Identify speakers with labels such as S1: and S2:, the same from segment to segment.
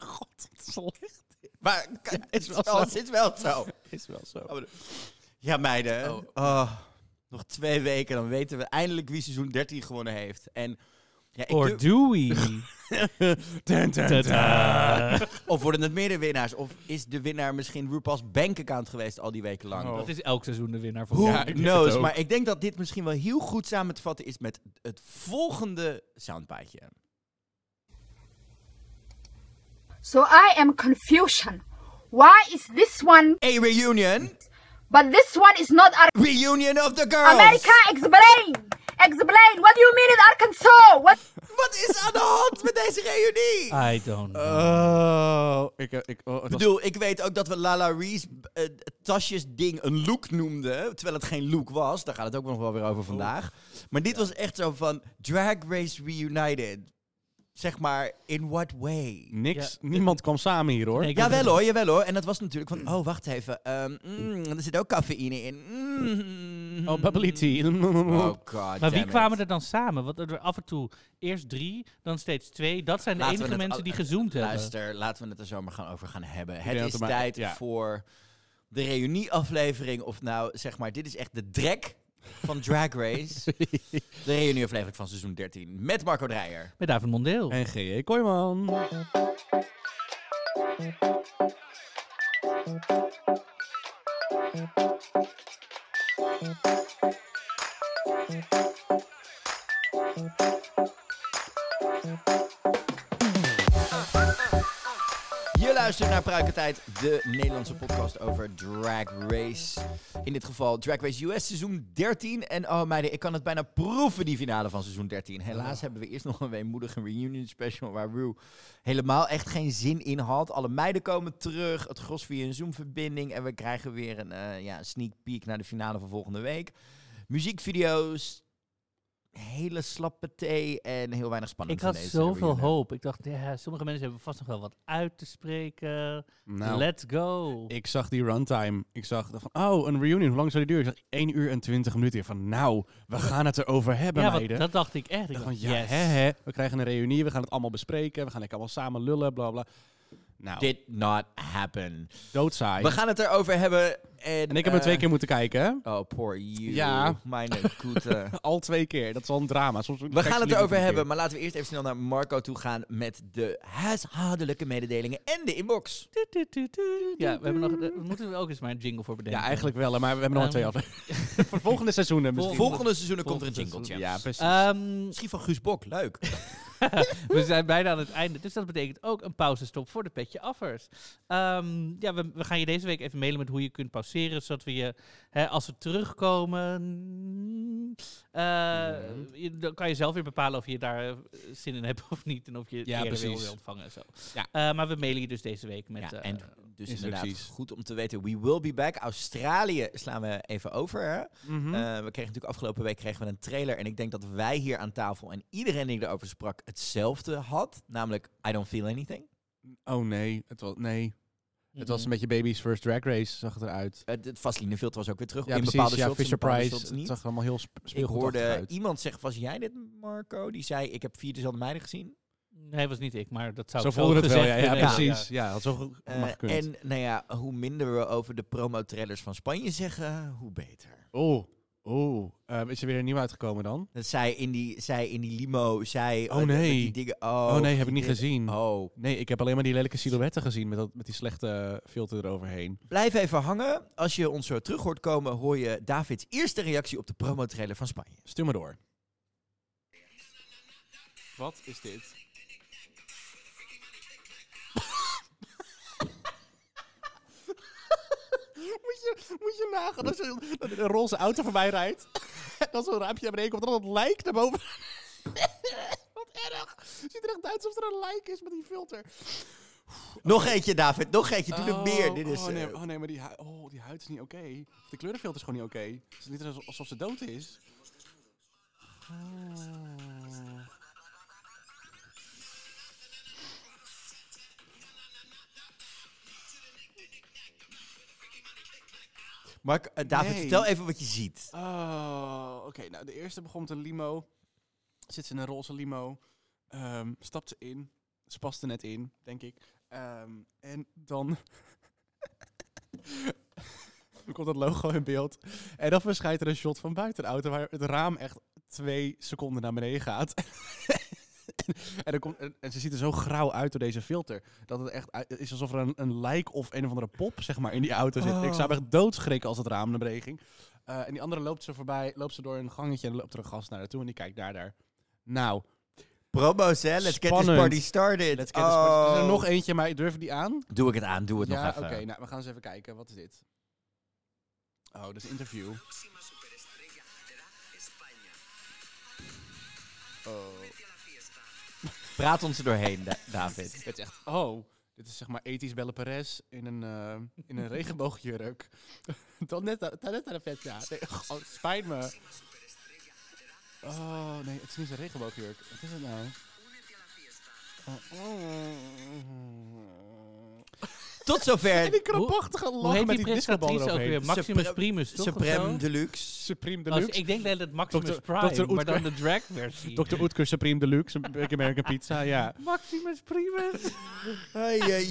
S1: God, wat slecht.
S2: Maar k- het, is
S1: is
S2: wel
S1: wel
S2: het
S1: zo.
S2: is wel zo.
S1: Is wel zo.
S2: Ja, meiden.
S1: Oh.
S2: Oh, nog twee weken, dan weten we eindelijk wie seizoen 13 gewonnen heeft. En, ja, ik
S1: Or
S2: durf-
S1: do we?
S2: Dun, dun, dun.
S1: Tadaa.
S2: Of worden het meerdere winnaars? Of is de winnaar misschien RuPaul's bankaccount geweest al die weken lang?
S1: Oh. Dat is elk seizoen de winnaar van
S2: Who
S1: Ja, ik denk het
S2: knows?
S1: ook.
S2: Maar ik denk dat dit misschien wel heel goed samen te vatten is met het volgende soundbiteje.
S3: So I am confusion. Why is this one,
S2: A reunion.
S3: but this one is not Ar-
S2: Reunion of the girls.
S3: America? Explain, explain. What do you mean in Arkansas? What?
S2: Wat is aan de hand met deze reunie?
S1: I don't know.
S4: Oh, ik, ik, oh,
S2: Ik bedoel, ik weet ook dat we Lala Rees eh, tasjes ding een look noemden, terwijl het geen look was. Daar gaat het ook nog wel weer
S1: Oh.
S2: over vandaag. Maar dit was echt zo van Drag Race Reunited. Zeg maar, in what way?
S4: niks, niemand kwam samen hier hoor.
S1: Nee, Mm. ik
S2: Ja,
S1: denk
S2: wel
S1: dat-
S2: hoor, jawel hoor. En dat was natuurlijk van, oh wacht even, ehm, mm, er zit ook cafeïne in. Mm.
S4: Oh, bubbly tea.
S1: Mm.
S2: Oh god
S1: Maar wie
S2: damn it.
S1: kwamen er dan samen? Want er af en toe eerst drie, dan steeds twee. Dat zijn de
S2: Laten we
S1: enige
S2: het
S1: mensen
S2: al-
S1: die gezoomd hebben.
S2: Luister, laten we het er zomaar gaan over gaan hebben. Het
S4: dat
S2: is
S4: er maar-
S2: tijd
S4: ja.
S2: voor de reunieaflevering. Of nou, zeg maar, dit is echt de drek van Drag Race. de reunieaflevering van seizoen 13 met Marco Dreyer.
S1: Met David Mondeel.
S4: En G.E. Kooijman.
S2: Je luistert naar Pruikentijd, de Nederlandse podcast over Drag Race. In dit geval Drag Race US seizoen 13. En oh meiden, ik kan het bijna proeven, die finale van seizoen 13. Helaas hebben we eerst nog een weemoedige reunion special waar Ru helemaal echt geen zin in had. Alle meiden komen terug, het gros via een Zoom-verbinding. En we krijgen weer een eh, ja, sneak peek naar de finale van volgende week. Muziekvideo's, hele slappe thee en heel weinig spanning.
S1: Ik had
S2: in deze
S1: zoveel
S2: reunion.
S1: hoop. Ik dacht, ja, sommige mensen hebben vast nog wel wat uit te spreken.
S4: Nou,
S1: Let's go.
S4: ik zag die runtime. Ik zag van, oh, een reunion. Hoe lang zou die duren? Ik zag 1 uur en 20 minuten. Ik van, nou, we gaan het erover hebben,
S1: ja, want
S4: meiden.
S1: dat dacht ik echt. Ik
S4: Ik dacht
S1: dacht,
S4: van, ja,
S1: yes.
S4: hè, hè. We krijgen een reunie. We gaan het allemaal bespreken. We gaan lekker allemaal samen lullen, bla, bla. Nou,
S2: Did not happen.
S4: doodsaai.
S2: We gaan het erover hebben. En,
S4: En ik heb hem
S2: eh,
S4: twee keer moeten kijken, hè.
S2: Oh, poor you.
S4: Ja.
S2: Mijn goede.
S4: Al twee keer. Dat is al een drama. Soms
S2: We gaan het erover hebben, maar laten we eerst even snel naar Marco toe gaan met de huishoudelijke mededelingen en de inbox.
S1: Tu, tu, tu, tu. Ja, we hebben nog, eh, moeten we ook eens maar een jingle voor bedenken.
S4: Ja, eigenlijk wel, hè, maar we hebben nog maar twee
S1: Ehm,
S4: afleveringen. Voor volgende seizoenen misschien.
S2: Volgende seizoenen komt er een
S1: Volgende
S2: jingletje.
S4: Ja, precies.
S1: Ehm,
S2: Misschien van Guus Bok, leuk.
S1: we zijn bijna aan het einde. Dus dat betekent ook een pauzestop voor de petje affers. Ehm, ja, we, we gaan je deze week even mailen met hoe je kunt pauzeren. Zodat we je, hè, als we terugkomen, eh,
S4: Mhm.
S1: je- dan kan je zelf weer bepalen of je daar eh, zin in hebt of niet. En of je het
S4: Ja,
S1: eerder wil
S4: precies.
S1: wil ontvangen en zo.
S4: Ja.
S1: Eh, maar we mailen je dus deze week met...
S2: Ja,
S1: eh,
S2: en dus inderdaad,
S4: instructies.
S2: goed om te weten. We will be back. Australië slaan we even over. Hè?
S4: Mhm.
S2: Eh, we kregen natuurlijk afgelopen week kregen we een trailer. En ik denk dat wij hier aan tafel en iedereen die erover sprak hetzelfde had. Namelijk, I don't feel anything.
S4: Oh nee, het was, nee. het
S2: Mhm.
S4: was een beetje Baby's First Drag Race, zag het eruit.
S2: Het, het Eh, vaselinefilter was ook weer terug.
S4: Ja,
S2: in
S4: precies.
S2: bepaalde
S4: ja,
S2: shots, in
S4: Fisher
S2: bepaalde
S4: Price.
S2: shots
S4: Het
S2: niet.
S4: zag er allemaal heel sp-
S2: Ik
S4: speelgoedachtig
S2: hoorde
S4: uit.
S2: iemand zeggen, was jij dit Marco? Die zei, ik heb vier dezelfde meiden gezien.
S1: Nee, was niet ik, maar dat zou
S4: Zo
S1: ik
S4: voelde het wel, ja,
S1: gezegd
S4: ja,
S1: kunnen hebben,
S4: precies. Ja, had zo ge-
S2: Eh,
S4: mag gekund.
S2: en nou ja, hoe minder we over de promotrailers van Spanje zeggen, hoe beter.
S4: Oh, oh. Eh, is er weer een nieuw uitgekomen dan?
S2: Dat zij in die, zij in die limo, zij...
S4: Oh,
S2: eh, met
S4: nee.
S2: Die dingen, oh,
S4: Oh, nee, heb ik niet
S2: dit-
S4: gezien.
S2: Oh.
S4: Nee, ik heb alleen maar die lelijke silhouetten gezien met, dat, met die slechte filter eroverheen.
S2: Blijf even hangen. Als je ons zo terug hoort komen, hoor je Davids eerste reactie op de promotrailer van Spanje.
S4: Stuur maar door. Wat is dit? moet, je, moet je nagaan als er dat er een roze auto voorbij rijdt. dat zo'n raampje naar beneden komt. Dat het lijk naar boven. Wat erg. Ziet er echt uit alsof er een lijk is met die filter.
S2: Nog eentje, David. Nog eentje. Doe nog meer. Dit is...
S4: oh, nee,
S2: eh,
S4: oh nee, maar die, hui- oh, die huid is niet oké. De kleurenfilter is gewoon niet oké. Het is niet alsof, alsof ze dood is. Oh.
S2: Mark, eh, David,
S4: Nee.
S2: vertel even wat je ziet.
S4: Oh, oké. Nou, de eerste begon met een limo. Zit ze in een roze limo. Ehm, stapt ze in. Ze paste net in, denk ik. Ehm, en dan... dan komt het logo in beeld. En dan verschijnt er een shot van buiten de auto... waar het raam echt twee seconden naar beneden gaat. en, dan komt, en, en ze ziet er zo grauw uit door deze filter... dat het echt uit- het is alsof er een, een lijk of een of andere pop zeg maar, in die auto zit. Ik zou echt doodschrikken als het raam naar beneden ging. Eh, en die andere loopt ze voorbij, loopt ze door een gangetje... en loopt er een gast naar haar toe en die kijkt daar, daar. Nou...
S2: Promo's, hè? Let's get this
S4: Spannend.
S2: party started.
S4: Let's get this party- Er is
S2: Oh.
S4: er nog eentje, maar durf je die aan?
S2: Doe ik het aan, doe het
S4: ja,
S2: nog even.
S4: oké. nou, we gaan eens even kijken. Wat is dit? Oh, dat is een interview.
S2: Praat ons er doorheen, Da- David.
S4: Het is echt... Oh, dit is zeg maar ethisch Belle Perez in een, eh, in een regenboogjurk. Tot net, aan- tot net aan de vet, ja. Nee, oh, het spijt me. Oh, nee, het is niet een regenboogjurk. Wat is het nou? Oh.
S2: Tot
S4: En die
S2: zover.
S4: krampachtige
S1: Hoe
S4: lach
S1: heet
S4: met
S1: die
S4: die discobal
S1: presentatrice ook
S4: eroverheen.
S1: weer? Maximus
S2: Supreme-
S1: Primus, toch? of zo?
S2: Supreme Deluxe.
S4: Supreme
S1: Als-
S4: Deluxe.
S1: ik denk dat het Maximus
S4: Dr.
S1: Prime,
S4: Dr.
S1: maar dan de drag-versie.
S4: Dr. Oetker Supreme Deluxe, een beetje American Pizza, ja.
S1: Maximus Primus.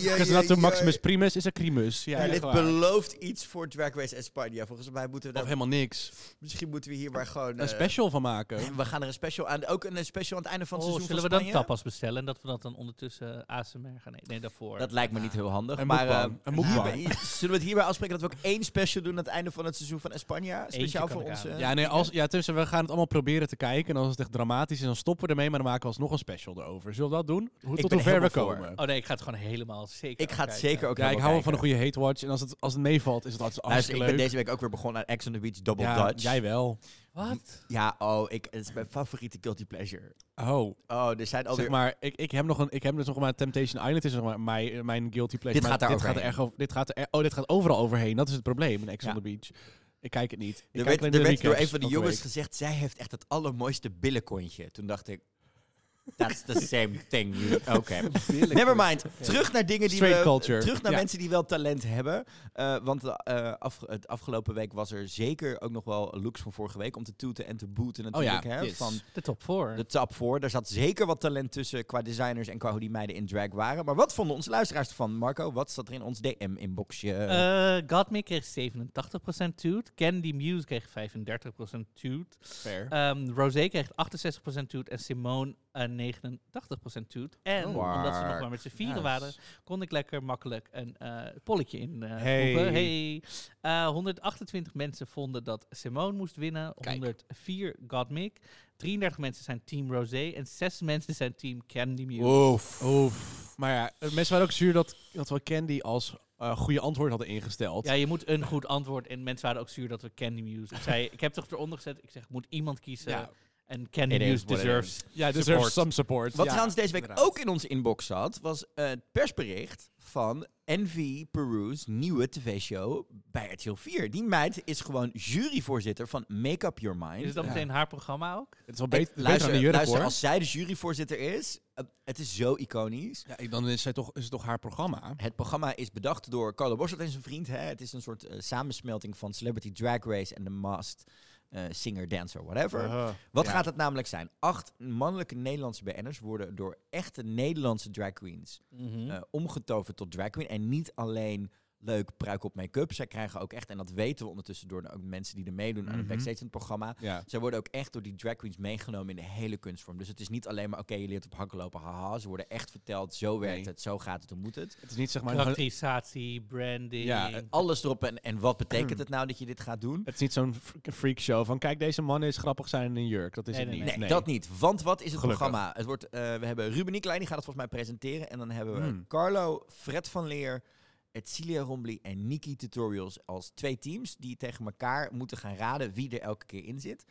S4: Because not to Maximus Primus is een crimus. Ja,
S2: Ja,
S4: echt
S2: dit
S4: waar.
S2: belooft iets voor Drag Race España. Volgens mij moeten we
S4: Of
S2: daar...
S4: helemaal niks.
S2: Misschien moeten we hier maar gewoon...
S4: Een
S2: eh,
S4: special van maken.
S2: We gaan er een special aan... Ook een special aan het einde van het
S1: Oh,
S2: seizoen
S1: zullen we
S2: van
S1: dan
S2: Spanje?
S1: tapas bestellen en dat we dat dan ondertussen eh, ASMR gaan eten? Nee, daarvoor.
S2: Dat lijkt me niet heel handig.
S4: Een
S2: maar
S4: mukbang.
S2: eh,
S4: Een mukbang.
S2: hierbij- zullen we het hierbij afspreken dat we ook één special doen aan het einde van het seizoen van España? Speciaal
S1: kan
S2: voor
S1: ik
S2: onze...
S1: aan.
S4: Ja, nee, als, ja, tussen, we gaan het allemaal proberen te kijken. En als het echt dramatisch is, dan stoppen we ermee. Maar dan maken we alsnog een special erover. Zullen we dat doen? Hoe,
S2: Ik
S4: tot
S2: ben
S4: hoe ver we
S2: helemaal
S4: komen.
S1: Oh nee, ik ga het gewoon helemaal zeker
S2: Ik ga het
S1: afkijken.
S2: zeker ook
S4: Ja, ik
S2: helemaal
S4: hou wel van een
S2: kijken.
S4: goede hate watch. En als het, als het meevalt, is het altijd
S2: Luister,
S4: hartstikke
S2: ik
S4: leuk.
S2: ben deze week ook weer begonnen aan Ex on the Beach Double
S4: ja,
S2: Dutch.
S4: jij wel.
S1: Wat?
S2: Ja, oh, ik, het is mijn favoriete guilty pleasure.
S4: Oh,
S2: Oh, er zijn alweer...
S4: zeg maar, ik, ik heb nog een, ik heb dus nog maar Temptation Island is nog maar mijn, mijn guilty pleasure.
S2: Dit
S4: maar
S2: gaat daar
S4: dit gaat er
S2: overheen.
S4: erg over, dit gaat er, oh, dit gaat overal overheen. Dat is het probleem in Ex
S2: Ja.
S4: on the Beach. Ik kijk het niet. Ik
S2: Er
S4: kijk
S2: werd,
S4: alleen
S2: er
S4: de
S2: werd door een
S4: recaps
S2: van de
S4: elke
S2: jongens
S4: week.
S2: gezegd, zij heeft echt het allermooiste billenkontje. Toen dacht ik, that's the same thing. you- Oké. Never mind. Terug naar dingen die
S4: Straight
S2: we...
S4: culture.
S2: Terug naar
S4: Ja.
S2: mensen die wel talent hebben. Eh, want eh, af, het afgelopen week was er zeker ook nog wel looks van vorige week om te toeten en te booten
S4: Oh ja,
S2: natuurlijk. hè,
S4: yes.
S2: Van
S1: De top 4.
S2: de tap voor. Daar zat zeker wat talent tussen qua designers en qua hoe die meiden in drag waren. Maar wat vonden onze luisteraars ervan, Marco? Wat zat er in ons DM-inboxje?
S1: Eh Godmik kreeg 87% toot. Candy Muse kreeg 35% toot.
S4: Fair.
S1: Ehm Rosé kreeg 68% toot. En Simone eh, 89% toot. En
S2: Oh.
S1: omdat ze nog maar met z'n vieren
S4: Nice.
S1: waren, kon ik lekker makkelijk een eh, polletje in eh
S4: Hey.
S1: voegen. Hey. Eh, 128 mensen vonden dat Simone moest winnen.
S4: Kijk.
S1: 104 Godmik. 33 mensen zijn Team Rosé. En 6 mensen zijn Team Candy Muse.
S2: Oef.
S4: Eh, Oef. Maar ja, eh, mensen waren ook zuur dat, dat we Candy als eh, goede antwoord hadden ingesteld.
S1: Ja, je moet een goed antwoord. En mensen waren ook zuur dat we Candy Muse. Ik zei, ik heb toch eronder gezet. Ik zeg, moet iemand kiezen.
S2: eh,
S4: Ja.
S1: En Candy
S2: It is
S1: Muse
S2: what it
S1: deserves.
S4: ja dus
S1: deserves
S4: some support.
S2: Wat trouwens deze week
S4: inderdaad.
S2: ook in onze inbox zat, was eh, het persbericht van NV Peru's nieuwe tv-show bij RTL 4. Die meid is gewoon juryvoorzitter van Make Up Your Mind.
S1: Is het dan
S4: Ja.
S1: meteen haar programma ook?
S4: Het is wel
S2: Ik-
S4: beter, beter
S2: luister,
S4: dan de jurk
S2: luister,
S4: hoor.
S2: als zij de juryvoorzitter is, eh, het is zo iconisch.
S4: Ja, ik- dan is, zij toch, is het toch haar programma.
S2: Het programma is bedacht door Carlo Bossert en zijn vriend. Hè. Het is een soort eh, samensmelting van Celebrity Drag Race en The Masked eh, Singer, Dancer, whatever. Wat gaat het namelijk zijn? Acht mannelijke Nederlandse BN'ers worden door echte Nederlandse drag queens
S4: Mhm. Hm.
S2: eh, omgetoverd tot drag queen. En niet alleen leuk pruik op make-up. Zij krijgen ook echt, en dat weten we ondertussen door de, ook mensen die er meedoen aan de
S4: Mhm.
S2: backstage van het programma.
S4: Ja.
S2: Zij worden ook echt door die drag queens meegenomen in de hele kunstvorm. Dus het is niet alleen maar, oké, je leert op hakken lopen, haha. Ze worden echt verteld, zo werkt
S4: Nee.
S2: het, zo gaat het, hoe moet het.
S4: Het is niet zeg maar... een-
S1: Karakterisatie, branding.
S4: Ja, eh,
S2: Alles erop en, en wat
S1: Hmm.
S2: betekent het nou dat je dit gaat doen?
S4: het is niet zo'n fr- freak show van kijk deze man is grappig zijn in een jurk. Dat is
S1: Nee,
S4: het
S1: nee,
S4: niet.
S2: Nee, dat niet. Want wat is het
S4: Gelukkig.
S2: programma? Het wordt, eh, we hebben Ruben Nicolai, die gaat het volgens mij presenteren. En dan hebben we
S4: Hmm.
S2: Carlo, Fred van Leer, Etcilia Rombly en Niki Tutorials als twee teams die tegen elkaar moeten gaan raden wie er elke keer in zit.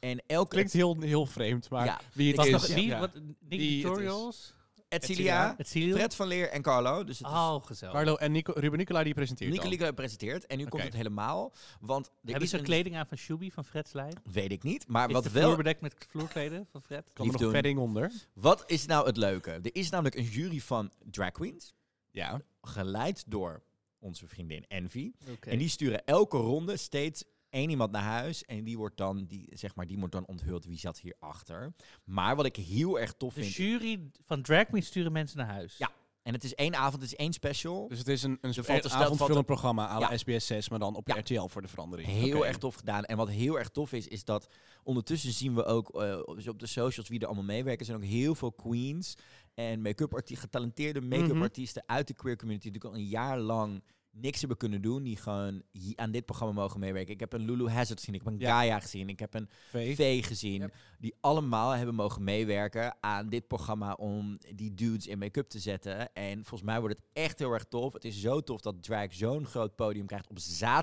S2: En elke
S4: Klinkt heel, heel vreemd, maar
S2: Ja.
S4: wie het
S1: Was
S4: is...
S1: nog wie?
S4: ja.
S1: Wat, Nick
S4: Die het
S1: Tutorials?
S2: Etcilia,
S1: Het ziel?
S2: Fred van Leer en Carlo. Dus het is
S1: Oh, gezellig.
S4: Carlo en Nico, Ruben Nicolai die presenteert
S2: Nico
S4: dan.
S2: Nicolai presenteert. En nu komt
S4: Oké.
S2: het helemaal. Want er
S1: Hebben
S2: is
S1: ze
S2: een
S1: kleding aan van Shubi, van Fred's lijn?
S2: Weet ik niet. Maar
S1: Is
S2: wat
S1: de
S2: wel
S1: vloer bedekt met vloerkleden van Fred?
S4: Kan er nog
S2: doen.
S4: padding onder.
S2: Wat is nou het leuke? Er is namelijk een jury van drag queens,
S4: Ja.
S2: geleid door onze vriendin Envy.
S1: Oké.
S2: En die sturen elke ronde steeds één iemand naar huis en die wordt dan, die, zeg maar, die wordt dan onthuld wie zat hierachter. Maar wat ik heel erg tof
S1: De
S2: vind,
S1: jury van Drag Me sturen mensen naar huis.
S2: Ja. en het is één avond, het is één special.
S4: Dus het is een, een,
S2: valt
S4: een
S2: te snel-
S4: avondfilmprogramma à la
S2: Ja.
S4: SBS 6, maar dan op
S2: Ja.
S4: RTL voor de verandering.
S2: Heel
S4: Oké.
S2: erg tof gedaan. En wat heel erg tof is, is dat ondertussen zien we ook eh, op- op de socials wie er allemaal meewerken. Er zijn ook heel veel queens en make-up arti- getalenteerde make-up
S4: Mhm.
S2: artiesten uit de queer community. Die natuurlijk al een jaar lang niks hebben kunnen doen. Die gewoon hi- aan dit programma mogen meewerken. Ik heb een Lulu Hazard gezien, ik heb een
S4: Ja.
S2: Gaia gezien, ik heb een
S4: Vee.
S2: V gezien.
S4: Yep.
S2: Die allemaal hebben mogen meewerken aan dit programma om die dudes in make-up te zetten. En volgens mij wordt het echt heel erg tof. Het is zo tof dat drag zo'n groot podium krijgt op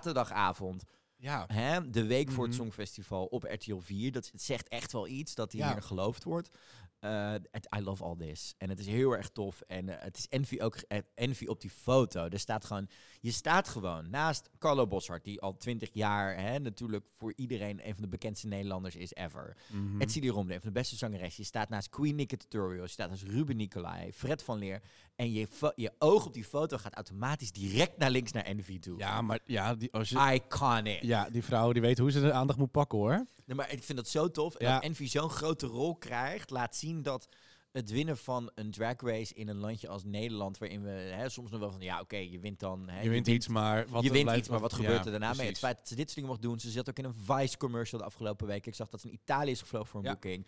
S2: zaterdagavond.
S4: Ja.
S2: Hè, de week voor het
S4: Mhm.
S2: Songfestival op RTL 4. Dat het zegt echt wel iets dat
S4: Ja.
S2: hier geloofd wordt. Eh, het- I love all this. En het is heel erg tof. En eh, het is envy, ook, eh, envy op die foto. Er staat gewoon, je staat gewoon naast Carlo Bossart, die al twintig jaar hè, natuurlijk voor iedereen een van de bekendste Nederlanders is ever.
S4: Mhm.
S2: Het Etsy Romde, een van de beste zangeres. Je staat naast Queen Nicky Tutorial, je staat naast Ruben Nicolai, Fred van Leer. En je, fo- je oog op die foto gaat automatisch direct naar links naar Envy toe.
S4: ja, maar ja, die, als je,
S2: Ah, Iconic.
S4: ja, die vrouw die weet hoe ze de aandacht moet pakken hoor.
S2: Nee, maar ik vind dat zo tof. En
S4: Ja.
S2: dat Envy zo'n grote rol krijgt, laat zien dat het winnen van een drag race in een landje als Nederland, waarin we hè, soms nog wel van, ja oké, je wint dan. Hè,
S4: Je wint iets, maar wat
S2: je
S4: er
S2: wint
S4: blijft-
S2: iets, maar wat
S4: ja,
S2: gebeurt er daarna mee? Het
S4: precies.
S2: feit dat ze dit soort dingen mocht doen. Ze zat ook in een Vice commercial de afgelopen week. Ik zag dat ze in Italië is gevlogen voor een
S4: Ja.
S2: boeking.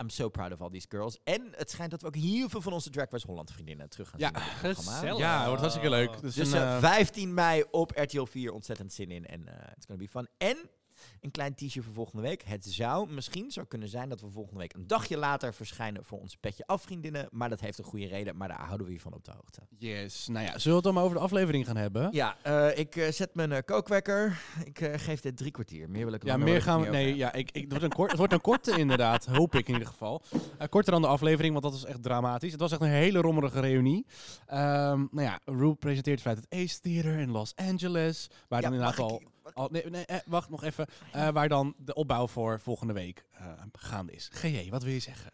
S2: I'm so proud of all these girls. En het schijnt dat we ook heel veel van onze Drag Race Holland vriendinnen terug gaan
S4: Ja,
S2: zien. in dit programma.
S1: gezellig.
S4: Ja, het wordt hartstikke leuk.
S1: Oh.
S4: Dus,
S2: Dus
S4: een,
S2: eh,
S4: eh,
S2: 15 mei op RTL 4 ontzettend zin in. En eh it's gonna be fun. En een klein teaser voor volgende week. Het zou misschien zo kunnen zijn dat we volgende week een dagje later verschijnen voor onze petje afvriendinnen. Maar dat heeft een goede reden. Maar daar houden we je van op de hoogte.
S4: yes. Nou ja, zullen we het dan maar over de aflevering gaan hebben?
S2: Ja, eh, ik eh, zet mijn eh, kookwekker. Ik eh, geef dit drie kwartier. Meer wil ik
S4: Ja,
S2: langer wil
S4: meer
S2: ik
S4: gaan
S2: het
S4: we.
S2: niet over
S4: Nee, ja, ik, ik, het, wordt een kort, het wordt een korte inderdaad, hoop ik in ieder geval. Eh, korter dan de aflevering, want dat was echt dramatisch. Het was echt een hele rommelige reunie. Ehm, nou ja, Rue presenteert vanuit het Ace Theater in Los Angeles. Waar dan
S2: Ja, mag
S4: inderdaad al.
S2: ik-
S4: al nee, nee, eh, wacht nog even. Eh, waar dan de opbouw voor volgende week eh, gaande is. GJ, wat wil je zeggen?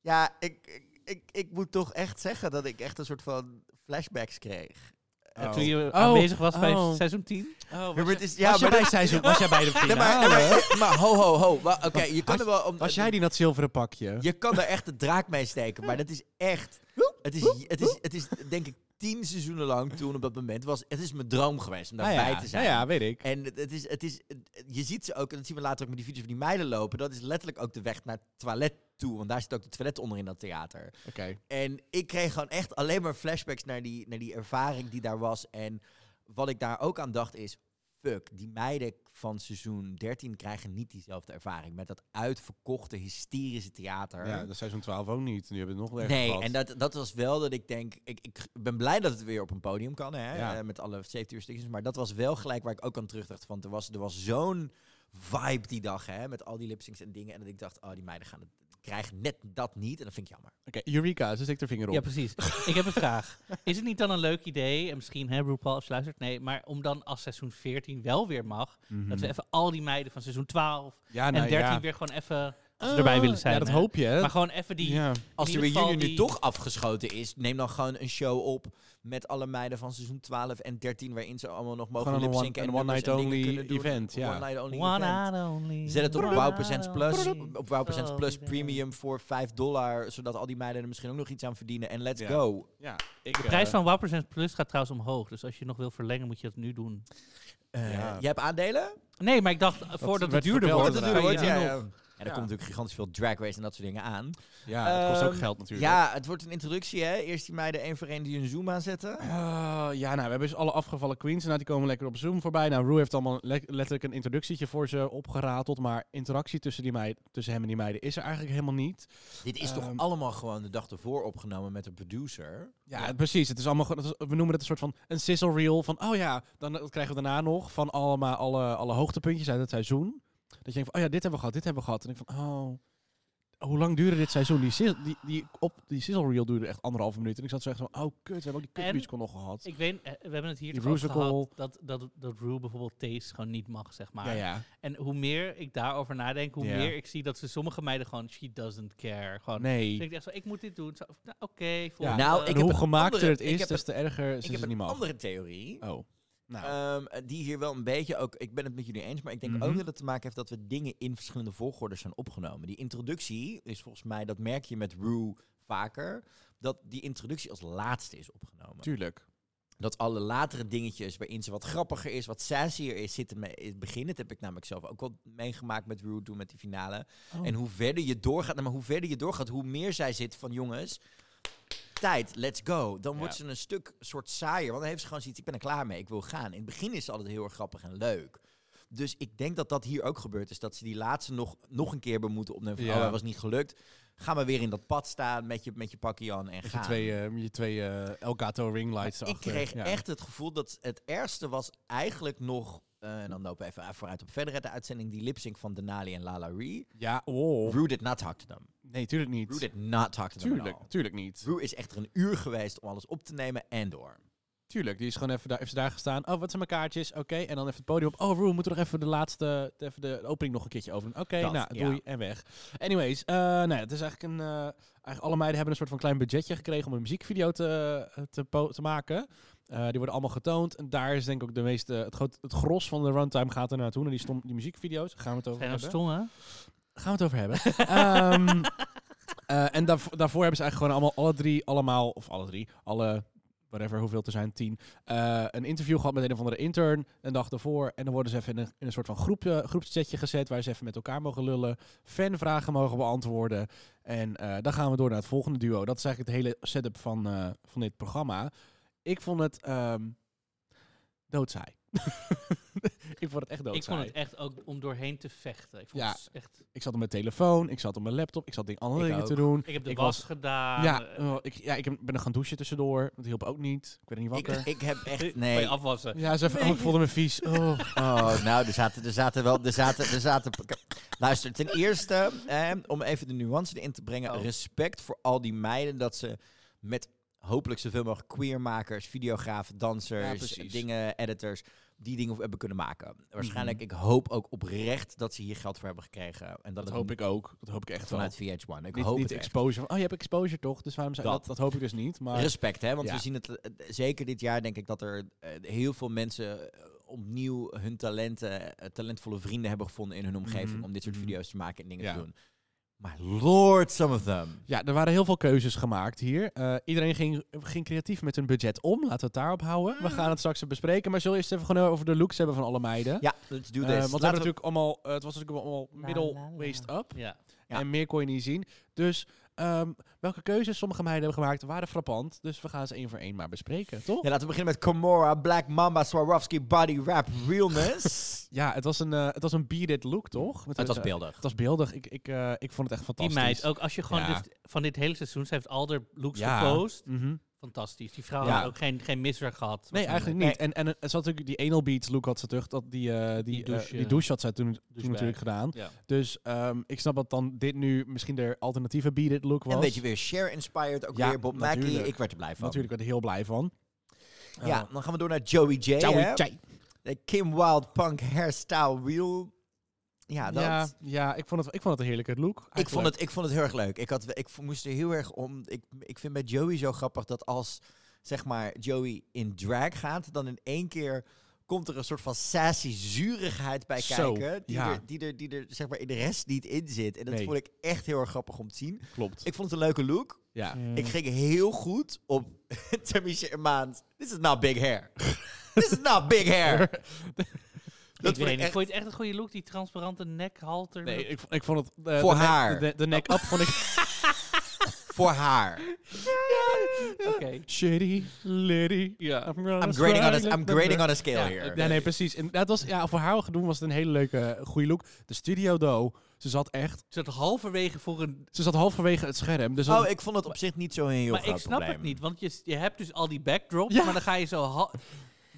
S2: Ja, ik, ik, ik, ik moet toch echt zeggen dat ik echt een soort van flashbacks kreeg. Eh,
S1: En Toen je
S4: Oh.
S1: aanwezig was bij
S4: Oh.
S1: seizoen 10.
S4: Oh,
S2: Hubert is,
S4: ja,
S2: ja,
S4: was,
S2: maar,
S4: jij bij
S2: dat-
S4: seizoen, was jij bij de
S2: Nee,
S4: finale?
S2: maar, nee, maar, maar ho, ho, ho. Wa- Oké, je kan er wel... om-
S4: was jij die in dat zilveren pakje?
S2: Je kan er echt de draak mee steken, maar dat is echt. Het is, het is, het is denk ik tien seizoenen lang toen op dat moment was. Het is mijn droom geweest om
S4: Nou
S2: daarbij
S4: ja,
S2: te zijn.
S4: nou ja, weet ik.
S2: En het het is, het is, het- je ziet ze ook, en dat zien we later ook met die video's van die meiden lopen. Dat is letterlijk ook de weg naar het toilet toe, want daar zit ook de toilet onder in dat theater.
S4: Oké.
S2: En ik kreeg gewoon echt alleen maar flashbacks naar die, naar die ervaring die daar was. En wat ik daar ook aan dacht is... Fuck, die meiden van seizoen 13 krijgen niet diezelfde ervaring. Met dat uitverkochte, hysterische theater.
S4: Ja, dat is seizoen 12 ook niet. Nu hebben we het nog weer
S2: Nee,
S4: gehad.
S2: en dat, dat was wel dat ik denk... Ik, ik ben blij dat het weer op een podium kan, hè,
S4: Ja.
S2: eh, met alle safety restrictions. Maar dat was wel gelijk waar ik ook aan terugdacht. Want er was, er was zo'n vibe die dag, hè, met al die lipsyncs en dingen. En dat ik dacht, oh, die meiden gaan het, krijgen net dat niet. En dat vind ik jammer.
S4: Oké, Eureka, ze steekt haar vinger op.
S1: Ja, precies. ik heb een vraag. Is het niet dan een leuk idee, en misschien hè, RuPaul als je luistert, nee, maar om dan als seizoen 14 wel weer mag, dat we even al die meiden van seizoen 12
S4: Ja, Mhm. nou
S1: en 13
S4: ja.
S1: weer gewoon even als ze erbij willen zijn.
S4: Ja, dat
S1: hè.
S4: hoop je. hè?
S1: Maar gewoon even die...
S4: ja.
S2: Als de
S1: In ieder
S2: reunion
S1: geval
S2: nu
S1: die-
S2: toch afgeschoten is, neem dan gewoon een show op met alle meiden van seizoen 12 en 13, waarin ze allemaal nog mogen
S4: Gewoon een one-
S2: lipzinken en
S4: een one
S2: nummers
S4: night
S2: en dingen
S4: only
S2: kunnen doen.
S4: event, ja.
S2: One night only
S1: One
S2: event.
S1: and only.
S2: Zet het op
S1: One
S2: Wow
S1: and
S2: Percent
S1: only.
S2: Plus, op Wow Percent
S1: Zo,
S2: Plus
S1: die
S2: Premium voor 5 dollar, zodat al die meiden er misschien ook nog iets aan verdienen. En let's
S4: Ja.
S2: go.
S4: ja, ik,
S1: De prijs van Wow Percent Plus gaat trouwens omhoog, dus als je nog wil verlengen moet je dat nu doen.
S2: Eh,
S4: Ja.
S2: Jij hebt aandelen?
S1: Nee, maar ik dacht, eh, voordat het
S4: werd
S1: duurder
S4: verteld
S1: wordt,
S4: inderdaad.
S1: ga je
S2: wordt,
S1: nu
S2: ja,
S1: nog-
S2: ja. En er
S4: Ja.
S2: komt natuurlijk gigantisch veel drag race en dat soort dingen aan.
S4: Ja, dat kost ook
S2: Ehm,
S4: geld natuurlijk.
S2: Ja, het wordt een introductie, hè? Eerst die meiden één voor één die hun Zoom aanzetten.
S4: Eh, ja, nou, we hebben dus alle afgevallen queens. Nou, die komen lekker op Zoom voorbij. Nou, Rue heeft allemaal le- letterlijk een introductietje voor ze opgerateld. Maar interactie tussen, die meid, tussen hem en die meiden is er eigenlijk helemaal niet.
S2: Dit is toch
S4: Ehm,
S2: allemaal gewoon de dag ervoor opgenomen met de producer?
S4: Ja, precies. Het is allemaal, gewoon- het is- we noemen het een soort van een sizzle reel. Van, oh ja, dan dat krijgen we daarna nog van allemaal, alle, alle hoogtepuntjes uit het seizoen. Dat je denkt van, oh ja, dit hebben we gehad, dit hebben we gehad. En ik van, oh, hoe lang duurde dit seizoen? Die, sizz- die, die, op, die sizzle reel duurde echt anderhalve minuut. En ik zat zo echt van, oh kut, we hebben ook die
S1: En-
S4: kutmuzical nog gehad.
S1: Ik weet, eh, we hebben het hier
S4: Die
S1: toch ook
S4: Rusical.
S1: gehad dat, dat, dat Rue bijvoorbeeld taste gewoon niet mag, zeg maar.
S4: ja, ja.
S1: En hoe meer ik daarover nadenk, hoe
S4: Ja.
S1: meer ik zie dat ze sommige meiden gewoon, she doesn't care. Gewoon,
S4: Oh, Nee.
S1: Ik denk echt zo, ik moet dit doen. Zo, nou, Oké,
S4: Ja.
S1: volgende.
S2: Nou,
S4: En
S2: ik heb
S4: hoe
S2: een
S4: gemaakter
S2: andere-
S4: Dus het
S2: ik
S4: is,
S2: heb
S4: des te erger
S2: Ik
S4: ze
S2: heb
S4: het niet
S2: een
S4: mag.
S2: andere theorie.
S4: Oh. Nou,
S2: Ehm, eh, die hier wel een beetje ook. Ik ben het met jullie eens, maar ik denk
S4: Mhm.
S2: ook dat het te maken heeft dat we dingen in verschillende volgordes zijn opgenomen. Die introductie is volgens mij, dat merk je met Rue vaker, dat die introductie als laatste is opgenomen.
S4: tuurlijk.
S2: Dat alle latere dingetjes waarin ze wat grappiger is, wat sassier is, zitten me in het begin. Dat heb ik namelijk zelf ook wel meegemaakt met Rue toen met die finale.
S4: Oh.
S2: En hoe verder je doorgaat, nou, maar hoe verder je doorgaat, hoe meer zij zit van jongens. Tijd, let's go. Dan wordt
S1: Ja.
S2: ze een stuk soort saaier. Want dan heeft ze gewoon zoiets, ik ben er klaar mee, ik wil gaan. In het begin is ze altijd heel erg grappig en leuk. Dus ik denk dat dat hier ook gebeurd is. Dat ze die laatste nog, nog een keer bemoeten opnemen. Van,
S4: Ja.
S2: Oh, dat was niet gelukt. Ga maar weer in dat pad staan met je, met je pakje aan en
S4: Met
S2: ga.
S4: je twee, eh, je twee eh, Elgato ringlights
S2: Ik
S4: erachter.
S2: kreeg
S4: Ja.
S2: echt het gevoel dat het ergste was eigenlijk nog... eh, en dan lopen we even vooruit op verder uit de uitzending. Die lipsync van Denali en Lala Ree.
S4: Ja, oh.
S2: Rue did not talk to them.
S4: Nee, tuurlijk niet.
S2: Rue did not talk to them at
S4: Tuurlijk,
S2: all.
S4: tuurlijk niet.
S2: Rue is echt een uur geweest om alles op te nemen en door.
S4: Tuurlijk, die is gewoon even daar, heeft ze daar gestaan. Oh, wat zijn mijn kaartjes? Oké, en dan even het podium op. Oh, Roe, moeten we nog even de laatste, even de opening nog een keertje over doen. Oké,
S2: Dat,
S4: nou,
S2: ja.
S4: doei en weg. Anyways, eh nou ja, het is eigenlijk een... eh, eigenlijk alle meiden hebben een soort van klein budgetje gekregen om een muziekvideo te, te, po- te maken. Eh, die worden allemaal getoond. En daar is denk ik ook de meeste... Het, groot, het gros van de runtime gaat er naartoe. Naar die, stom, die muziekvideo's. Gaan we het over
S1: Zijn dat
S4: hebben?
S1: stom, hè?
S4: gaan we het over hebben. Ehm, eh, en daarvoor, daarvoor hebben ze eigenlijk gewoon allemaal, alle drie, allemaal, of alle drie, alle, whatever, hoeveel er zijn, tien, eh, een interview gehad met een of andere intern een dag daarvoor. En dan worden ze even in een, in een soort van groep, eh, groepschatje gezet, waar ze even met elkaar mogen lullen, fanvragen mogen beantwoorden. En eh, dan gaan we door naar het volgende duo. Dat is eigenlijk het hele setup van, eh, van dit programma. Ik vond het ehm doodsaai. ik vond het echt doodsaai.
S1: Ik vond het echt ook om doorheen te vechten. Ik vond
S4: Ja.
S1: het echt...
S4: Ik zat op mijn telefoon, ik zat op mijn laptop, ik zat ding andere
S2: Ik
S4: dingen te
S2: ook. Ah,
S4: doen.
S1: Ik heb de
S4: Ik
S1: was
S4: was-
S1: gedaan.
S4: ja,
S1: eh,
S4: eh, ik, ja, ik heb- ben er gaan douchen tussendoor. Dat hielp ook niet. Ik werd niet
S2: Ik,
S4: wakker.
S2: ik heb echt...
S1: kon
S2: Nee.
S1: je afwassen.
S4: ja, ze oh, ik voelde me vies. Oh.
S2: Oh, nou, er zaten, er zaten wel... Er zaten, er zaten... Luister, ten eerste, eh, om even de nuance erin te brengen.
S1: Oh.
S2: Respect voor al die meiden dat ze met hopelijk zoveel mogelijk queermakers, videografen,
S4: Ja,
S2: dansers,
S4: precies.
S2: dingen, editors, die dingen hebben kunnen maken. Waarschijnlijk, ik hoop ook oprecht dat ze hier geld voor hebben gekregen. En dat,
S4: Mhm. Dat
S2: het
S4: hoop ik ook. Dat hoop ik echt
S2: vanuit
S4: wel.
S2: VH1. Ik
S4: niet
S2: hoop
S4: niet
S2: het echt.
S4: exposure. Van, oh, je hebt exposure toch? Dus waarom zei
S2: Dat.
S4: dat? dat? hoop ik dus niet. Maar
S2: Respect, hè? Want
S4: Ja.
S2: we zien het eh, zeker dit jaar, denk ik, dat er eh, heel veel mensen eh, opnieuw hun talenten, eh, talentvolle vrienden hebben gevonden in hun omgeving
S4: Mhm.
S2: om dit soort
S4: Mhm.
S2: video's te maken en dingen
S4: Ja.
S2: te doen. Maar lord, some of them.
S4: ja, er waren heel veel keuzes gemaakt hier. Eh, iedereen ging, ging creatief met hun budget om. Laten we het daarop houden.
S2: Ah.
S4: We gaan het straks bespreken. Maar zullen we eerst even gewoon over de looks hebben van alle meiden?
S2: Ja, let's do
S4: Eh,
S2: this.
S4: want we
S2: Laten
S4: hebben
S2: we-
S4: natuurlijk allemaal, eh, het was natuurlijk allemaal middel waist up.
S1: Ja.
S2: Ja.
S4: En meer kon je niet zien. Dus ehm, welke keuzes sommige meiden hebben gemaakt waren frappant. Dus we gaan ze één voor één maar bespreken, toch?
S2: Ja, laten we beginnen met Komora, Black Mamba, Swarovski, Body Rap, Realness.
S4: Ja, het was een, eh, het was een beat it look, toch? Met
S2: het was
S4: eh,
S2: beeldig.
S4: het was beeldig. Ik, ik, eh, ik vond het echt
S1: Die
S4: fantastisch.
S1: meid, ook als je gewoon
S4: Ja.
S1: dus van dit hele seizoen, ze heeft al haar looks
S4: Ja.
S1: gepost.
S2: oh.
S4: Mhm.
S1: Fantastisch. Die vrouw
S2: Ja.
S1: had ook geen, geen misdrag gehad.
S4: Nee, eigenlijk niet.
S2: Nee.
S4: En, en eh, ze had natuurlijk die anal beats look had ze terug. Dat die, eh, die,
S1: Die
S4: eh,
S1: douche,
S4: die
S1: eh,
S4: douche had zij toen, toen
S1: bij.
S4: natuurlijk gedaan.
S1: Ja.
S4: Dus ehm, ik snap dat dan dit nu misschien de alternatieve beat it look was.
S2: En weet je weer, Share Inspired, ook
S4: Ja,
S2: weer Bob Mackie.
S4: natuurlijk.
S2: Ik werd er blij van.
S4: Natuurlijk werd ik er heel blij van. Eh,
S2: Ja, dan gaan we door naar Joey J.
S4: Ciao,
S2: hè? De Kim Wild Punk Hairstyle Real. Ja, dat.
S4: Ja, ja ik, vond het, ik vond het een heerlijke look.
S2: Ik vond,
S4: eigenlijk.
S2: het, ik vond het heel erg leuk. Ik, had, ik v- moest er heel erg om. Ik, ik vind bij Joey zo grappig dat als zeg maar Joey in drag gaat, dan in één keer komt er een soort van sassy zurigheid bij
S4: Zo,
S2: kijken. Die,
S4: ja.
S2: er, die, er, die er zeg maar in de rest niet in zit. En dat
S4: Nee.
S2: vond ik echt heel erg grappig om te zien.
S4: Klopt.
S2: Ik vond het een leuke look.
S4: ja.
S2: Ik ging heel goed op Tamisha Maand. This is not big hair. This is not big hair.
S1: Dat
S2: dat vond
S1: ik weet
S2: ik
S1: niet.
S2: echt
S1: Vond je het echt een goede look? Die transparante nekhalter.
S4: Nee, ik, vo- ik vond het... eh,
S2: Voor
S4: de nek-
S2: haar.
S4: de, de nek up vond ik...
S2: voor haar.
S1: Oké.
S4: Shitty, litty.
S1: Ja.
S4: I'm, gonna
S2: I'm grading on a,
S4: strike
S2: I'm
S4: the
S2: grading on a
S1: Ja,
S2: scale here.
S1: oké.
S4: Ja, nee, precies. En dat was, ja, voor haar gedoe was het een hele leuke, goede look. De studio, though, ze zat echt...
S1: Ze zat halverwege voor een...
S4: Ze zat halverwege het scherm. Dus
S2: Oh,
S4: dat-
S2: ik vond het op zich niet zo een heel
S1: Maar
S2: groot
S1: ik snap
S2: probleem.
S1: het niet, want je, s- je hebt dus al die backdrops,
S4: Ja.
S1: maar dan ga je zo... hal-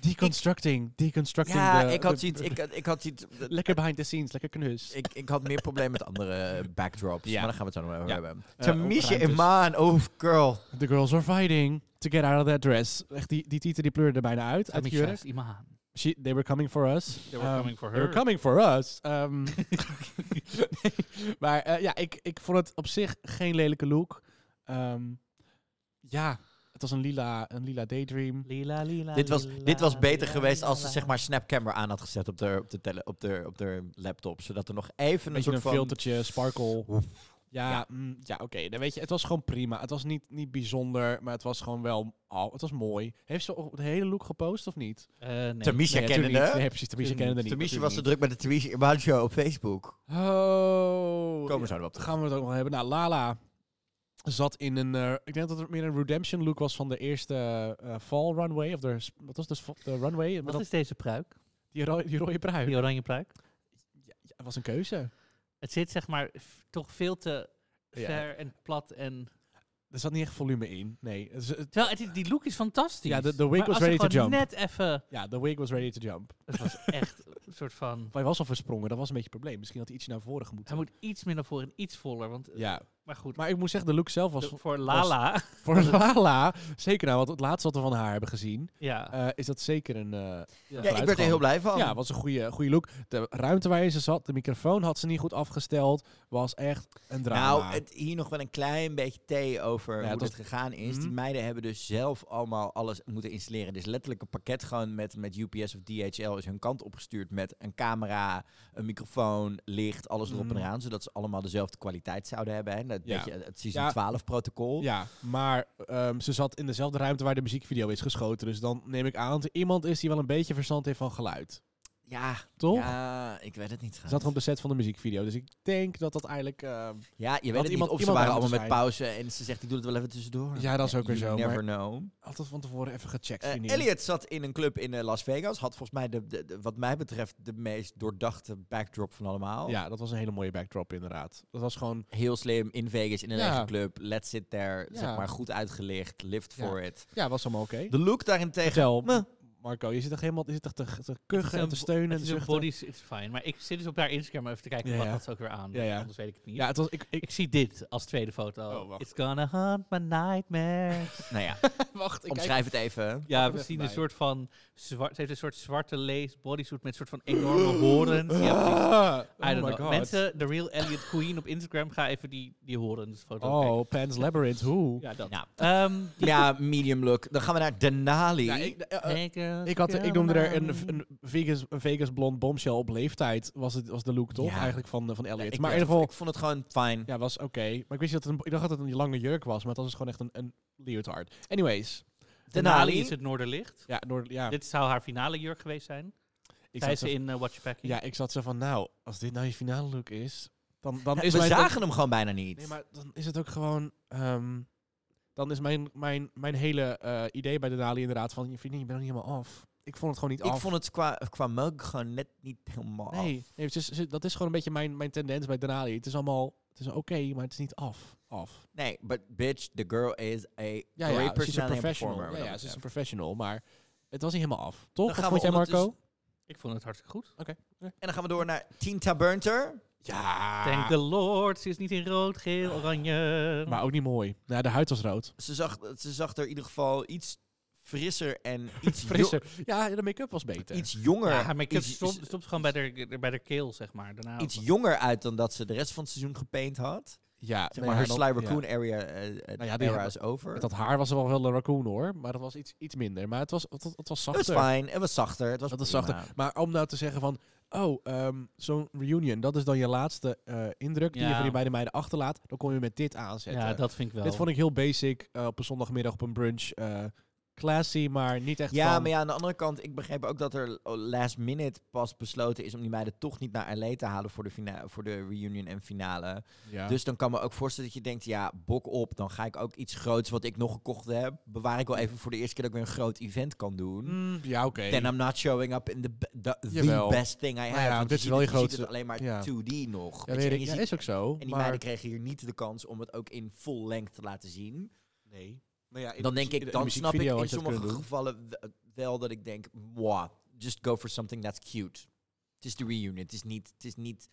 S4: deconstructing, deconstructing.
S2: Ja,
S4: de-
S2: ik had
S4: de-
S2: zoiets... Ik, had- ik, had zoiets
S4: Lekker behind the scenes, lekker knus.
S2: ik, ik had meer probleem met andere backdrops.
S4: Ja.
S2: Maar daar gaan we het zo nog over
S4: Ja.
S2: hebben.
S4: Eh,
S2: Tamisha
S4: opruimtes.
S2: Iman, oh girl.
S4: The girls are fighting to get out of that dress. Echt, die, die titel die pleurde er bijna uit. uit de
S1: Tamisha
S4: jurk.
S1: is iemand.
S4: She, they were coming for us.
S1: They were
S4: Um,
S1: coming for
S4: They were
S1: her.
S4: coming for us. Ehm, nee, maar eh, Um, ja, ik, ik vond het op zich geen lelijke look. Ehm, ja, Het was een lila, een lila daydream.
S1: Lila, lila,
S2: Dit was,
S1: lila,
S2: dit was beter
S1: lila,
S2: geweest als ze
S1: lila.
S2: zeg maar Snapcamera aan had gezet op de, op de, tele, op de, op de laptop. Zodat er nog even een
S4: Beetje
S2: soort
S4: een
S2: van...
S4: filtertje, sparkle.
S2: Oef.
S4: Ja,
S2: Ja.
S4: ja. ja oké. Dan weet je, het was gewoon prima. Het was niet, niet bijzonder, maar het was gewoon wel... Oh, het was mooi. Heeft ze ook de hele look gepost of niet?
S1: Eh, nee.
S2: Tamisha
S4: nee,
S2: kennende.
S4: natuurlijk niet. Nee, precies. Tamisha kennende niet.
S2: Tamisha was
S4: natuurlijk
S2: te druk met de Tamisha Irman Show op Facebook.
S4: niet. Oh.
S2: Komen
S4: ja,
S2: we zo nog op terug.
S4: gaan we het ook nog hebben. Nou, Lala zat in een... eh, ik denk dat het meer een redemption look was van de eerste eh, fall runway. Of de, sp- wat was de, sp- de runway? Maar
S1: Wat
S4: dat,
S1: is deze pruik?
S4: die, ro- die rode pruik.
S1: Die
S4: Ja,
S1: oranje pruik?
S4: ja, het was een keuze.
S1: Het zit zeg maar f- toch veel te
S4: Ja.
S1: ver en plat en...
S4: Er zat niet echt volume in. Nee. Het, is- het-
S1: Terwijl het, is- die look is fantastisch.
S4: Ja, de- de
S1: Maar
S4: wig was
S1: als ze
S4: ready to
S1: gewoon
S4: jump.
S1: net even...
S4: ja, the wig was ready to jump.
S1: Het was echt een soort van...
S4: Hij was al versprongen, dat was een beetje een probleem. Misschien had hij ietsje naar voren gemoeten.
S1: Hij moet iets minder voor en iets voller, want...
S4: Ja,
S1: Maar goed,
S4: maar ik moet zeggen, de look zelf was
S1: de- voor Lala...
S4: voor Lala, zeker nou, want het laatste wat we van haar hebben gezien,
S1: ja.
S4: eh, is dat zeker een... eh,
S1: Ja,
S2: Ja, ik werd er
S4: vooruitgang.
S2: heel blij van.
S4: Ja, was een goede, goede look. De ruimte waarin ze zat, de microfoon had ze niet goed afgesteld, was echt een drama.
S2: Nou, het, hier nog wel een klein beetje thee over
S4: Ja,
S2: hoe
S4: het
S2: dat
S4: was-
S2: gegaan is. Die
S4: Mhm.
S2: meiden hebben dus zelf allemaal alles moeten installeren. Dus letterlijk een pakket gewoon met, met UPS of DHL is hun kant opgestuurd met een camera, een microfoon, licht, alles erop en
S4: Mhm.
S2: eraan. Zodat ze allemaal dezelfde kwaliteit zouden hebben. Hè? Dat
S4: Ja.
S2: beetje het season
S4: Ja.
S2: 12 protocol.
S4: Ja, maar ehm, ze zat in dezelfde ruimte waar de muziekvideo is geschoten. Dus dan neem ik aan dat er iemand is die wel een beetje verstand heeft van geluid.
S2: Ja,
S4: Toch?
S2: ja, ik weet het niet.
S4: Ze
S2: Gaat.
S4: zat gewoon op de set van de muziekvideo. Dus ik denk dat dat eigenlijk... ehm,
S2: Ja, je weet
S4: Had
S2: het niet.
S4: iemand-
S2: Of ze
S4: iemand
S2: waren
S4: aan
S2: allemaal
S4: moeten
S2: met pauze en ze zegt ik doe het wel even tussendoor.
S4: ja, dat is ook weer
S2: You
S4: zo.
S2: never
S4: Maar
S2: know.
S4: altijd van tevoren even gecheckt,
S2: Eh,
S4: vind ik.
S2: Elliot zat in een club in eh, Las Vegas. Had volgens mij, de, de- de- wat mij betreft, de meest doordachte backdrop van allemaal.
S4: Ja, dat was een hele mooie backdrop inderdaad. Dat was gewoon...
S2: Heel slim, in Vegas, in een
S4: Ja.
S2: eigen club. Let's sit there.
S4: Ja.
S2: Zeg maar, goed uitgelicht. Lived
S4: Ja.
S2: for it.
S4: Ja, was allemaal oké.
S2: De look daarentegen...
S4: Vertel,
S2: Meh.
S4: Marco, je zit toch helemaal je zit toch te, te
S1: Het
S4: kuchen
S1: is
S4: en te
S1: een-
S4: steunen en
S1: Het
S4: te
S1: is een
S4: zuchten?
S1: body's, it's fine. Maar ik zit dus op haar Instagram even te kijken
S4: Ja,
S1: wat
S4: ja.
S1: had ze ook weer aan.
S4: Ja, ja.
S1: Anders weet ik het niet.
S4: Ja, het was... Ik, ik,
S1: Ik zie dit als tweede foto.
S4: Oh, wacht.
S1: It's gonna haunt my nightmare.
S2: Nou ja,
S4: wacht, ik
S2: omschrijf het even.
S1: ja, we
S4: even
S1: zien
S4: bij.
S1: een soort van... Zwart, ze heeft een soort zwarte lace bodysuit met een soort van enorme horens. Ja, precies. I don't
S4: oh my
S1: know.
S4: god.
S1: Mensen, de real Elliot Queen op Instagram, ga even die, die horensfoto kijken.
S4: oh, Pan's Labyrinth, hoe?
S1: Ja, dat.
S2: Ja.
S1: Ehm,
S2: ja, medium look. Dan gaan we naar Denali.
S4: Ja, ik, eh, eh,
S1: take a
S4: ik, had, ik noemde
S1: girl
S4: er een,
S1: now.
S4: een, Vegas, een Vegas blond bombshell op leeftijd. Was, het, was de look toch?
S2: Ja.
S4: Eigenlijk van, eh, van
S2: Ja,
S4: Elliot.
S2: ik
S4: maar in
S2: weet
S4: ieder
S2: het.
S4: geval,
S2: Ik vond het gewoon fijn.
S4: ja, was oké. Maar ik wist niet dat het een, ik dacht dat het een lange jurk was, maar het was dus gewoon echt een, een leotard. Anyways.
S1: Denali
S2: Denali.
S1: is het Noorderlicht.
S4: Ja, Noord, ja,
S1: Dit zou haar finale jurk geweest zijn.
S4: ik
S1: Zij
S4: zat
S1: is
S4: zo,
S1: in eh, Watchpacking.
S4: ja, ik zat zo van, nou, als dit nou je finale look is, dan, dan is
S2: we
S4: mijn...
S2: zagen hem gewoon bijna niet.
S4: Nee, maar dan is het ook gewoon. ehm, dan is mijn, mijn, mijn hele eh, idee bij de Dali inderdaad van je vriendin, je bent nog niet helemaal af. Ik vond het gewoon niet
S2: ik
S4: af.
S2: vond het qua, qua mug gewoon net niet helemaal af.
S4: Oh. nee, nee, het is- het is- dat is gewoon een beetje mijn, mijn tendens bij Denali. Het is allemaal, het is oké, maar het is niet af. af.
S2: Nee, but bitch, the girl is a
S4: Ja,
S2: great
S4: ja, ze is een
S2: personality and
S4: professional.
S2: performer.
S4: Ja,
S2: wat
S4: ja,
S2: dat
S4: ze is een
S2: betreft.
S4: professional, maar het was niet helemaal af. Toch? Wat
S2: gaan we
S4: vond jij Marco?
S1: Ik vond het hartstikke goed.
S2: En dan gaan we door naar Tinta Burnter.
S4: Ja.
S1: Thank the Lord, ze is niet in rood, geel, oranje.
S4: Ah. Maar ook niet mooi. Nou, de huid was rood.
S2: Ze zag, ze zag er in ieder geval iets frisser en iets, jo-
S4: Frisser. Ja, de make-up was beter.
S2: iets jonger.
S1: ja, haar make-up
S2: iets,
S1: stopt, stopt gewoon bij de, bij de keel, zeg maar. Daarna
S2: iets jonger uit dan dat ze de rest van het seizoen gepaint had.
S4: ja,
S2: Zeg maar,
S4: nou ja,
S2: haar
S4: dan-
S2: Sly
S4: ja.
S2: Raccoon area, eh, eh,
S4: Nou ja, die
S2: era
S4: had-
S2: is over.
S4: Met dat haar was er wel wel een raccoon hoor, maar dat was iets, iets minder. Maar het was, het, was- het was
S2: het
S4: zachter.
S2: was fijn, het was zachter. Het was
S4: Dat is
S2: prima.
S4: zachter. Maar om nou te zeggen van, oh, ehm, zo'n reunion, dat is dan je laatste eh, indruk die je
S1: Ja.
S4: van die beide meiden achterlaat. Dan kom je met dit aanzetten.
S1: Ja, dat vind ik wel.
S4: dit vond ik heel basic eh, op een zondagmiddag op een brunch. eh, classy, maar niet echt
S2: Ja,
S4: van-
S2: maar ja, aan de andere kant, ik begreep ook dat er last minute pas besloten is om die meiden toch niet naar LA te halen voor de, fina- voor de reunion en finale.
S4: Ja.
S2: Dus dan kan me ook voorstellen dat je denkt, ja, bok op, dan ga ik ook iets groots wat ik nog gekocht heb, bewaar ik wel even voor de eerste keer dat ik weer een groot event kan doen.
S4: Mm, ja, oké.
S2: Then I'm not showing up in the, be- the, the
S4: Jawel. Nou
S2: best thing I have.
S4: ja,
S2: want
S4: dit
S2: je
S4: is
S2: ziet
S4: wel
S2: het-
S4: je
S2: Je ziet het
S4: grootste-
S2: alleen maar
S4: ja.
S2: 2D nog.
S4: Ja,
S2: weet je, en,
S4: weet ik.
S2: je
S4: Ja,
S2: ziet-
S4: is ook zo.
S2: en die
S4: maar...
S2: meiden kregen hier niet de kans om het ook in full length te laten zien.
S4: Nee. Nou ja, in
S2: Dan
S4: de
S2: denk
S4: muzie- in
S2: ik,
S4: de
S2: dan snap ik
S4: muziekvideo
S2: in
S4: had je dat
S2: sommige
S4: kunnen doen.
S2: gevallen w- wel dat ik denk, wow, just go for something that's cute. Het is de reunion, het is niet, het is niet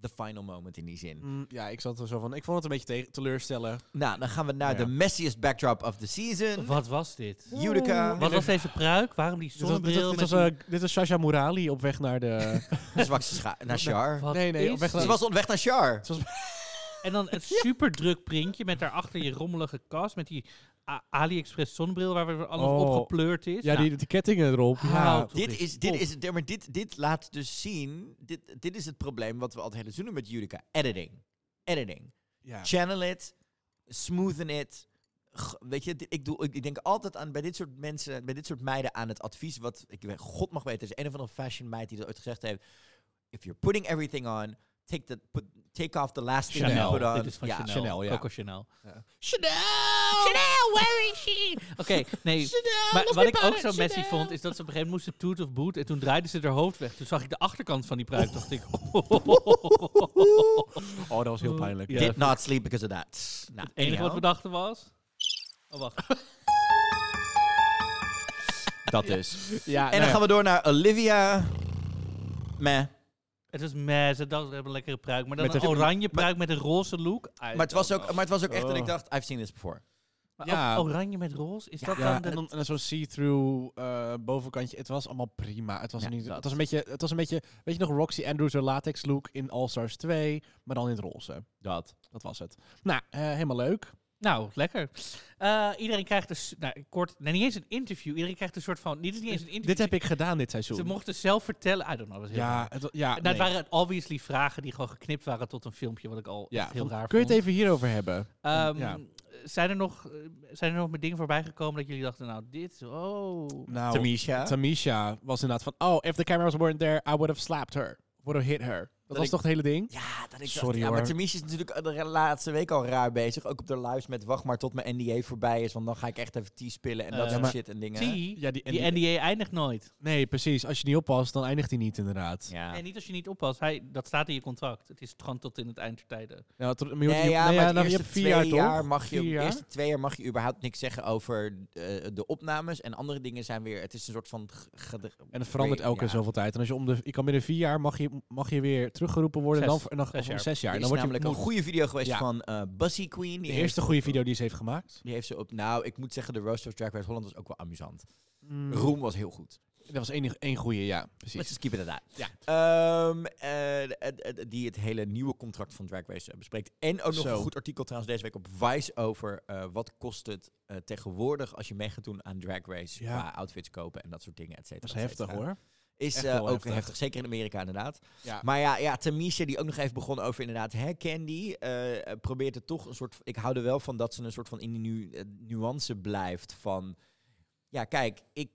S2: the final moment in die zin.
S4: Mm, ja, ik zat er zo van, ik vond het een beetje tegen- teleurstellen.
S2: Nou, dan gaan we naar
S4: Ja.
S2: de messiest backdrop of the season.
S1: Wat was dit?
S2: Utica.
S1: Wat was deze pruik? Waarom die
S4: Dit was, dit,
S1: zonnebril
S4: was, dit, was,
S1: met die-
S4: eh, dit was Sasha Murali op weg naar de...
S2: De zwakste Dus scha- naar Char.
S1: Wat
S4: nee, nee,
S1: is
S4: op weg naar-
S2: Ze
S1: dit?
S2: was op weg naar Char.
S1: En dan het superdruk printje met daarachter je rommelige kast. Met die A- AliExpress zonnebril waar we alles
S4: Oh.
S1: opgepleurd is.
S4: Ja,
S1: Nou,
S4: die, die kettingen erop.
S1: Haal
S4: Ja.
S1: toch
S2: Dit
S1: eens
S2: is, dit
S1: op.
S2: is, het- maar dit, dit laat dus zien, dit, dit is het probleem wat we altijd hele zoenen met Judica. Editing. Editing.
S4: Ja.
S2: Channel it, smoothen it. G- Weet je, di- ik, doe, ik ik denk altijd aan bij dit soort mensen, bij dit soort meiden aan het advies wat ik weet- God mag weten. Er is een of andere fashion meid die dat ooit gezegd heeft. If you're putting everything on, take, the, put, take off the last thing
S1: Chanel.
S2: you put on.
S1: Dit is van
S2: Ja.
S1: Chanel.
S4: Chanel, ja.
S1: Coco Chanel.
S2: Chanel!
S1: Chanel, where is she? Oké, nee.
S2: los
S1: maar wat
S2: mijn
S1: ik ook zo
S2: paard,
S1: messy
S2: Chanel.
S1: vond, is dat ze op een gegeven moment moesten toet of boot. En toen draaiden ze haar hoofd weg. Toen zag ik de achterkant van die pruik. dacht ik...
S4: Oh, dat was heel pijnlijk.
S1: Ja.
S4: Dit-
S2: Did not sleep because of that. Nou,
S1: Het enige wat we
S2: anyhow,
S1: dachten was... Oh, wacht.
S2: dat dus.
S4: Ja,
S2: En dan gaan we door naar Olivia. Meh.
S1: Het was meh, ze dachten we hebben een lekkere pruik. Maar dan
S4: Met
S1: een
S4: een-
S1: oranje pruik met een roze look. I
S2: Maar het, was
S1: don't
S2: ook,
S1: know.
S2: maar het was ook echt dat ik
S4: Oh.
S2: dacht, I've seen this before.
S1: Maar
S4: ja.
S1: ook oranje met roze? Is dat
S4: Ja,
S1: dan...
S4: en
S1: De,
S4: dan, en dan zo'n see-through eh, bovenkantje. Het was allemaal prima. Het was,
S2: Ja,
S4: niet,
S1: dat.
S4: het was, een, beetje, het was een beetje... Weet je nog Roxy Andrews' haar latex look in All Stars 2, maar dan in het roze.
S2: Dat.
S4: Dat was het. Nou, eh, helemaal leuk.
S1: nou, lekker. Eh, iedereen krijgt dus... Nou, kort... Nee, niet eens een interview. Iedereen krijgt een soort van... Dit is niet eens een interview.
S4: Dit heb ik gedaan dit seizoen.
S1: Ze mochten zelf vertellen. I don't know. Dat is heel
S4: ja,
S1: raar.
S4: het, wa- ja,
S1: nou,
S4: nee.
S1: het waren obviously vragen die gewoon geknipt waren tot een filmpje, wat ik al
S4: ja,
S1: echt heel
S4: van,
S1: raar
S4: Kun je
S1: vond.
S4: het even hierover hebben?
S1: Ehm,
S4: ja.
S1: zijn, er nog, eh, zijn er nog met dingen voorbij gekomen dat jullie dachten, nou dit, oh.
S4: Nou,
S2: Tamisha.
S4: Tamisha was inderdaad van... Oh, if the cameras weren't there, I would have slapped her. Would have hit her. Dat, was
S2: ik-
S4: toch het hele ding?
S2: ja, dat ik dacht,
S4: Sorry,
S2: ja, maar
S4: hoor.
S2: Tamisha is natuurlijk de laatste week al raar bezig. Ook op de lives met wacht maar tot mijn NDA voorbij is, want dan ga ik echt even tea spillen en dat
S1: Eh,
S2: soort
S1: maar-
S2: shit en dingen.
S1: Zie,
S4: Ja,
S1: die,
S4: die- en
S1: NDA eindigt nooit.
S4: Nee, precies. Als je niet oppast, dan eindigt hij niet inderdaad.
S2: Ja.
S1: En niet als je niet oppast, hij, dat staat in je contract. Het is gewoon tot in het eind der tijden.
S4: Nou, tot- maar je hoeft
S2: Nee,
S4: niet-
S2: ja,
S4: nee,
S2: maar
S4: ja,
S2: het
S4: nou, je
S2: eerste
S4: hebt vier
S2: twee
S4: jaar,
S2: jaar,
S4: toch?
S2: mag je,
S4: Vier
S2: de
S4: jaar?
S2: eerste twee jaar mag je überhaupt niks zeggen over eh, de opnames en andere dingen zijn weer. Het is een soort van ge- ge-
S4: En het verandert elke
S2: ja.
S4: zoveel tijd. En als je om de, je kan binnen vier jaar mag je, mag je weer teruggeroepen worden. en
S1: Zes.
S4: dan, voor- en dan
S1: Zes
S4: of om
S1: jaar.
S4: zes jaar.
S2: Er
S4: En
S2: is
S4: dan word je
S2: namelijk een goede video geweest
S4: Ja.
S2: van eh Bussy Queen.
S4: De eerste goede video die ze heeft gemaakt.
S2: Die heeft ze op. Nou, ik moet zeggen, de Roast of Drag Race Holland was ook wel amusant.
S4: Roep.
S2: Roem was heel goed.
S4: Dat was één, één goede, ja.
S2: Let's
S4: Precies.
S2: just keep it at that.
S4: Ja.
S2: Ehm, eh, eh, eh, die het hele nieuwe contract van Drag Race eh, bespreekt. En ook nog
S4: Zo.
S2: een goed artikel trouwens deze week op Vice over eh, wat kost het eh, tegenwoordig als je mee gaat doen aan Drag Race.
S4: Ja.
S2: Qua outfits kopen en dat soort dingen, et
S4: Dat
S2: cetera.
S4: is
S2: et
S4: heftig
S2: cetera.
S4: hoor.
S2: Is
S4: Echt
S2: eh,
S4: wel
S2: ook
S4: heftig.
S2: heftig. zeker in Amerika inderdaad.
S4: Ja.
S2: Maar ja, ja Tamisha die ook nog even begon over inderdaad, hè, Candy eh, eh, probeert het toch een soort, ik hou er wel van dat ze een soort van in die nu, eh, nuance blijft van, ja kijk, ik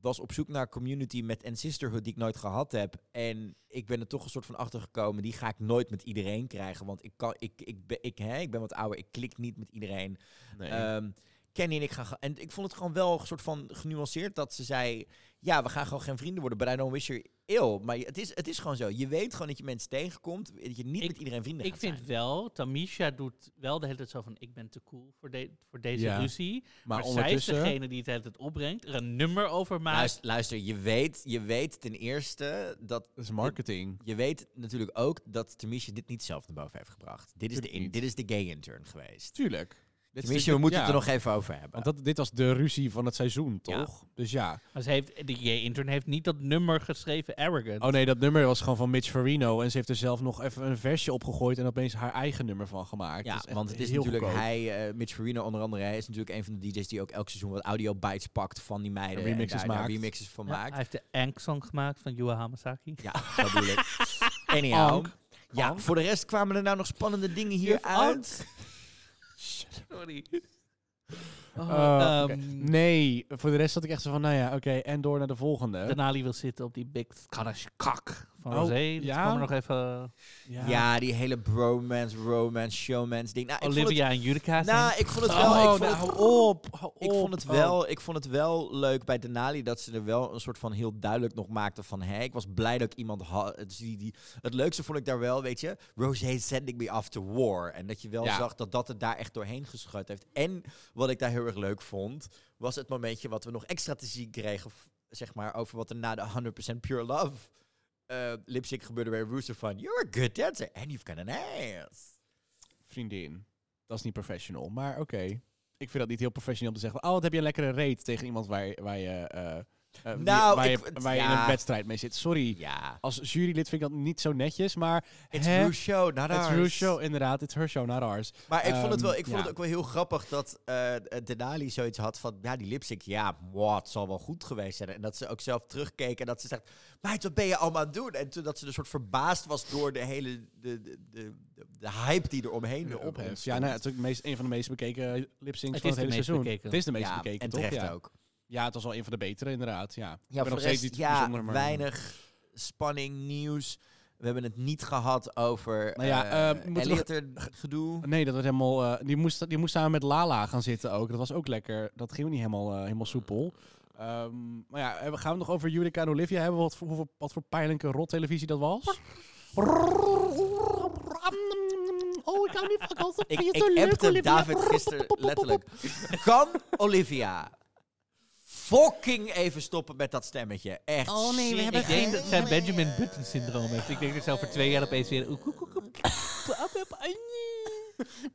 S2: was op zoek naar community met en sisterhood die ik nooit gehad heb en ik ben er toch een soort van achter gekomen, die ga ik nooit met iedereen krijgen, want ik kan, ik, ik, ben, ik, hè, ik ben wat ouder, ik klik niet met iedereen.
S4: Nee.
S2: Ehm, Kenny en ik gaan. ge- En ik vond het gewoon wel een soort van genuanceerd dat ze zei: Ja, we gaan gewoon geen vrienden worden. But I don't wish you ill. Maar je- het is, het is gewoon zo. Je weet gewoon dat je mensen tegenkomt. Dat je niet
S1: Ik-
S2: met iedereen vrienden
S1: Ik
S2: gaat
S1: vind
S2: zijn.
S1: wel, Tamisha doet wel de hele tijd zo van, ik ben te cool voor, de- voor deze
S4: Ja.
S1: ruzie. Maar,
S4: maar
S1: zij is
S4: ondertussen...
S1: degene die het de hele tijd opbrengt, er een nummer over maakt.
S2: Luister, luister je, weet, je weet ten eerste dat.
S4: Dat is marketing.
S2: Je weet natuurlijk ook dat Tamisha dit niet zelf naar boven heeft gebracht. Dit is de, in,
S4: Tuurlijk
S2: dit is de gay intern geweest.
S4: Tuurlijk. Dit is
S2: Tamisha, we
S4: natuurlijk-
S2: moeten
S4: ja.
S2: het er nog even over hebben.
S4: Want dat, dit was de ruzie van het seizoen,
S2: Ja.
S4: toch? Dus ja.
S1: Maar ze heeft, de J-intern heeft niet dat nummer geschreven, Arrogant.
S4: Oh nee, dat nummer was gewoon van Mitch Farino. En ze heeft er zelf nog even een versje opgegooid. En opeens haar eigen nummer van gemaakt.
S2: Ja,
S4: Dat echt
S2: want het is
S4: heel
S2: natuurlijk
S4: goedkoop.
S2: hij, eh, Mitch Farina onder andere, hij is natuurlijk een van de DJ's die ook elk seizoen wat audio bites pakt van die meiden.
S4: En remixes
S2: en daar- daar
S4: maakt.
S2: remixes van
S1: Ja, Hij
S2: maakt.
S1: heeft de Ang-song gemaakt van Yua Hamasaki.
S2: Ja, dat bedoel ik. Anyhow.
S4: Ank.
S2: Ja,
S4: Ank.
S2: voor de rest kwamen er nou nog spannende dingen hier
S1: Juf Ank.
S2: uit.
S1: Sorry.
S2: Oh,
S1: Oh, ehm,
S4: Eh, oké.
S2: ehm,
S4: Nee, voor de rest zat ik echt zo van, nou ja, oké, en door naar de volgende.
S1: Denali wil zitten op die big Scottish kak van
S4: Oh,
S1: Rosé. Dat
S4: ja?
S1: kan er nog even...
S2: Ja. die hele bromance, romance, showmans ding. Nou, ik vond
S1: Olivia en Judica
S2: het,
S1: zijn.
S2: nou, ik vond het wel...
S4: Oh,
S2: ik vond
S4: nou,
S2: het-
S4: hou op, hou
S2: Ik
S4: op.
S2: vond, het
S4: Oh.
S2: wel, ik vond het wel leuk bij Denali dat ze er wel een soort van heel duidelijk nog maakte van... Hé, ik was blij dat ik iemand had. Dus die, die, het leukste vond ik daar wel, weet je... Rosé sending me after war. En dat je wel
S4: Ja.
S2: zag dat dat het daar echt doorheen geschud heeft. En wat ik daar heel erg leuk vond... was het momentje wat we nog extra te zien kregen... f- zeg maar, over wat er na de 100% Pure Love... eh lipstick gebeurde bij Rooster van... You're a good dancer and you've got an ass.
S4: Vriendin, dat is niet professional, maar oké. Ik vind dat niet heel professioneel om te zeggen, oh, wat heb je een lekkere reet tegen iemand waar, waar je... eh, eh, die-
S2: Nou,
S4: waar,
S2: ik-
S4: je, waar je in
S2: ja.
S4: een wedstrijd mee zit. Sorry.
S2: Ja.
S4: Als jurylid vind ik dat niet zo netjes, maar...
S2: It's
S4: hè?
S2: her show, not
S4: It's
S2: ours.
S4: her show, inderdaad. It's her show, not ours.
S2: Maar ik vond het wel,
S4: Ehm,
S2: ik vond
S4: ja.
S2: het ook wel heel grappig dat eh, Denali zoiets had van, ja, die lipstick, ja, wow, het zal wel goed geweest zijn. En dat ze ook zelf terugkeek en dat ze zegt, meid, wat ben je allemaal aan het doen? En toen dat ze dus een soort verbaasd was door de hele, de, de, de, de hype die er omheen de
S4: ophef.
S2: ophef.
S4: Ja, nou, het is ook de meest, een van de meest bekeken lipsyncs
S1: Het
S4: van
S1: is
S4: het
S1: de
S4: hele
S1: meest
S4: seizoen.
S1: bekeken.
S4: Het is de meest
S2: Ja,
S4: bekeken,
S2: en
S4: toch?
S2: terecht
S4: ja.
S2: ook.
S4: ja, het was wel een van de betere, inderdaad. Ja, Ik ben
S2: Ja,
S4: nog
S2: voor de
S4: steeds
S2: rest,
S4: niet
S2: ja
S4: bijzonder, maar-
S2: weinig spanning, nieuws. We hebben het niet gehad over
S4: Nou ja,
S2: eh,
S4: eh, moeten we nog-
S2: Elliot-er gedoe.
S4: Nee, dat was helemaal. eh, die, moest, die moest samen met Lala gaan zitten ook. Dat was ook lekker. Dat ging niet helemaal, eh, helemaal soepel. Ehm, maar ja, hebben- gaan we het nog over Judica en Olivia hebben? Wat voor, hoeveel, wat voor pijnlijke rottelevisie dat was? Oh, ik hou niet van kosten.
S2: Ik, ik appte David gisteren letterlijk. Kan Olivia fucking even stoppen met dat stemmetje? Echt.
S5: Oh nee, we
S2: shit.
S5: hebben
S1: Ik denk dat zij
S5: geen-
S1: Benjamin Button syndroom heeft. Ik denk dat zij over twee jaar opeens weer... oek, oek, oek, oek.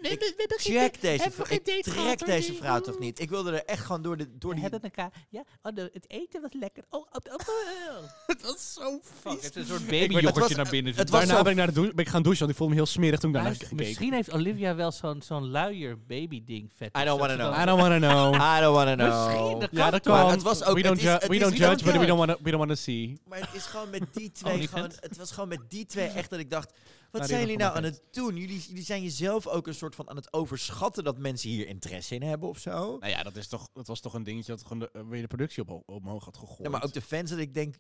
S5: Nee, we- we hebben geen date-
S2: Check deze
S5: hebben
S2: vrouw.
S5: we geen
S2: Ik
S5: date gehad,
S2: trek
S5: hoor,
S2: deze
S5: nee.
S2: vrouw toch niet? Ik wilde er echt gewoon door, de, door
S1: We
S2: die...
S1: hebben elkaar... Ja, oh, de- het eten was lekker. Oh, oh, oh, oh.
S5: Het was zo
S1: Fuck, het
S5: vies.
S1: is een soort
S2: het was-
S1: babyjoggertje naar binnen.
S2: het was
S4: Dus Daarna
S2: zo-
S4: ben ik, naar de douche, ben ik gaan douchen, want ik voelde me heel smerig toen Nou, ik daarna
S1: Luister,
S4: gekeken.
S1: misschien heeft Olivia wel zo'n zo'n luier baby ding vet.
S2: I don't wanna know.
S4: I don't wanna know.
S2: I don't wanna know.
S1: Misschien, dat kan
S4: ja, dat
S1: toch?
S4: kan.
S2: Maar het was ook-
S4: we don't,
S2: het is-
S4: ju-
S2: het
S4: we
S2: is-
S4: don't
S2: we
S4: judge,
S2: don't
S4: but we
S2: judge.
S4: don't wanna, we don't wanna see.
S2: Maar het is gewoon met die twee.
S1: OnlyFans?
S2: gewoon, het was gewoon met die twee echt dat ik dacht. Wat
S4: die
S2: zijn
S4: doen
S2: jullie
S4: van
S2: nou aan het doen? Jullie, jullie zijn jezelf ook een soort van aan het overschatten dat mensen hier interesse in hebben of zo.
S4: Nou ja, dat, is toch, dat was toch een dingetje dat gewoon de, eh, weer de productie op, omhoog had gegooid.
S2: Ja, maar ook de fans dat ik denk,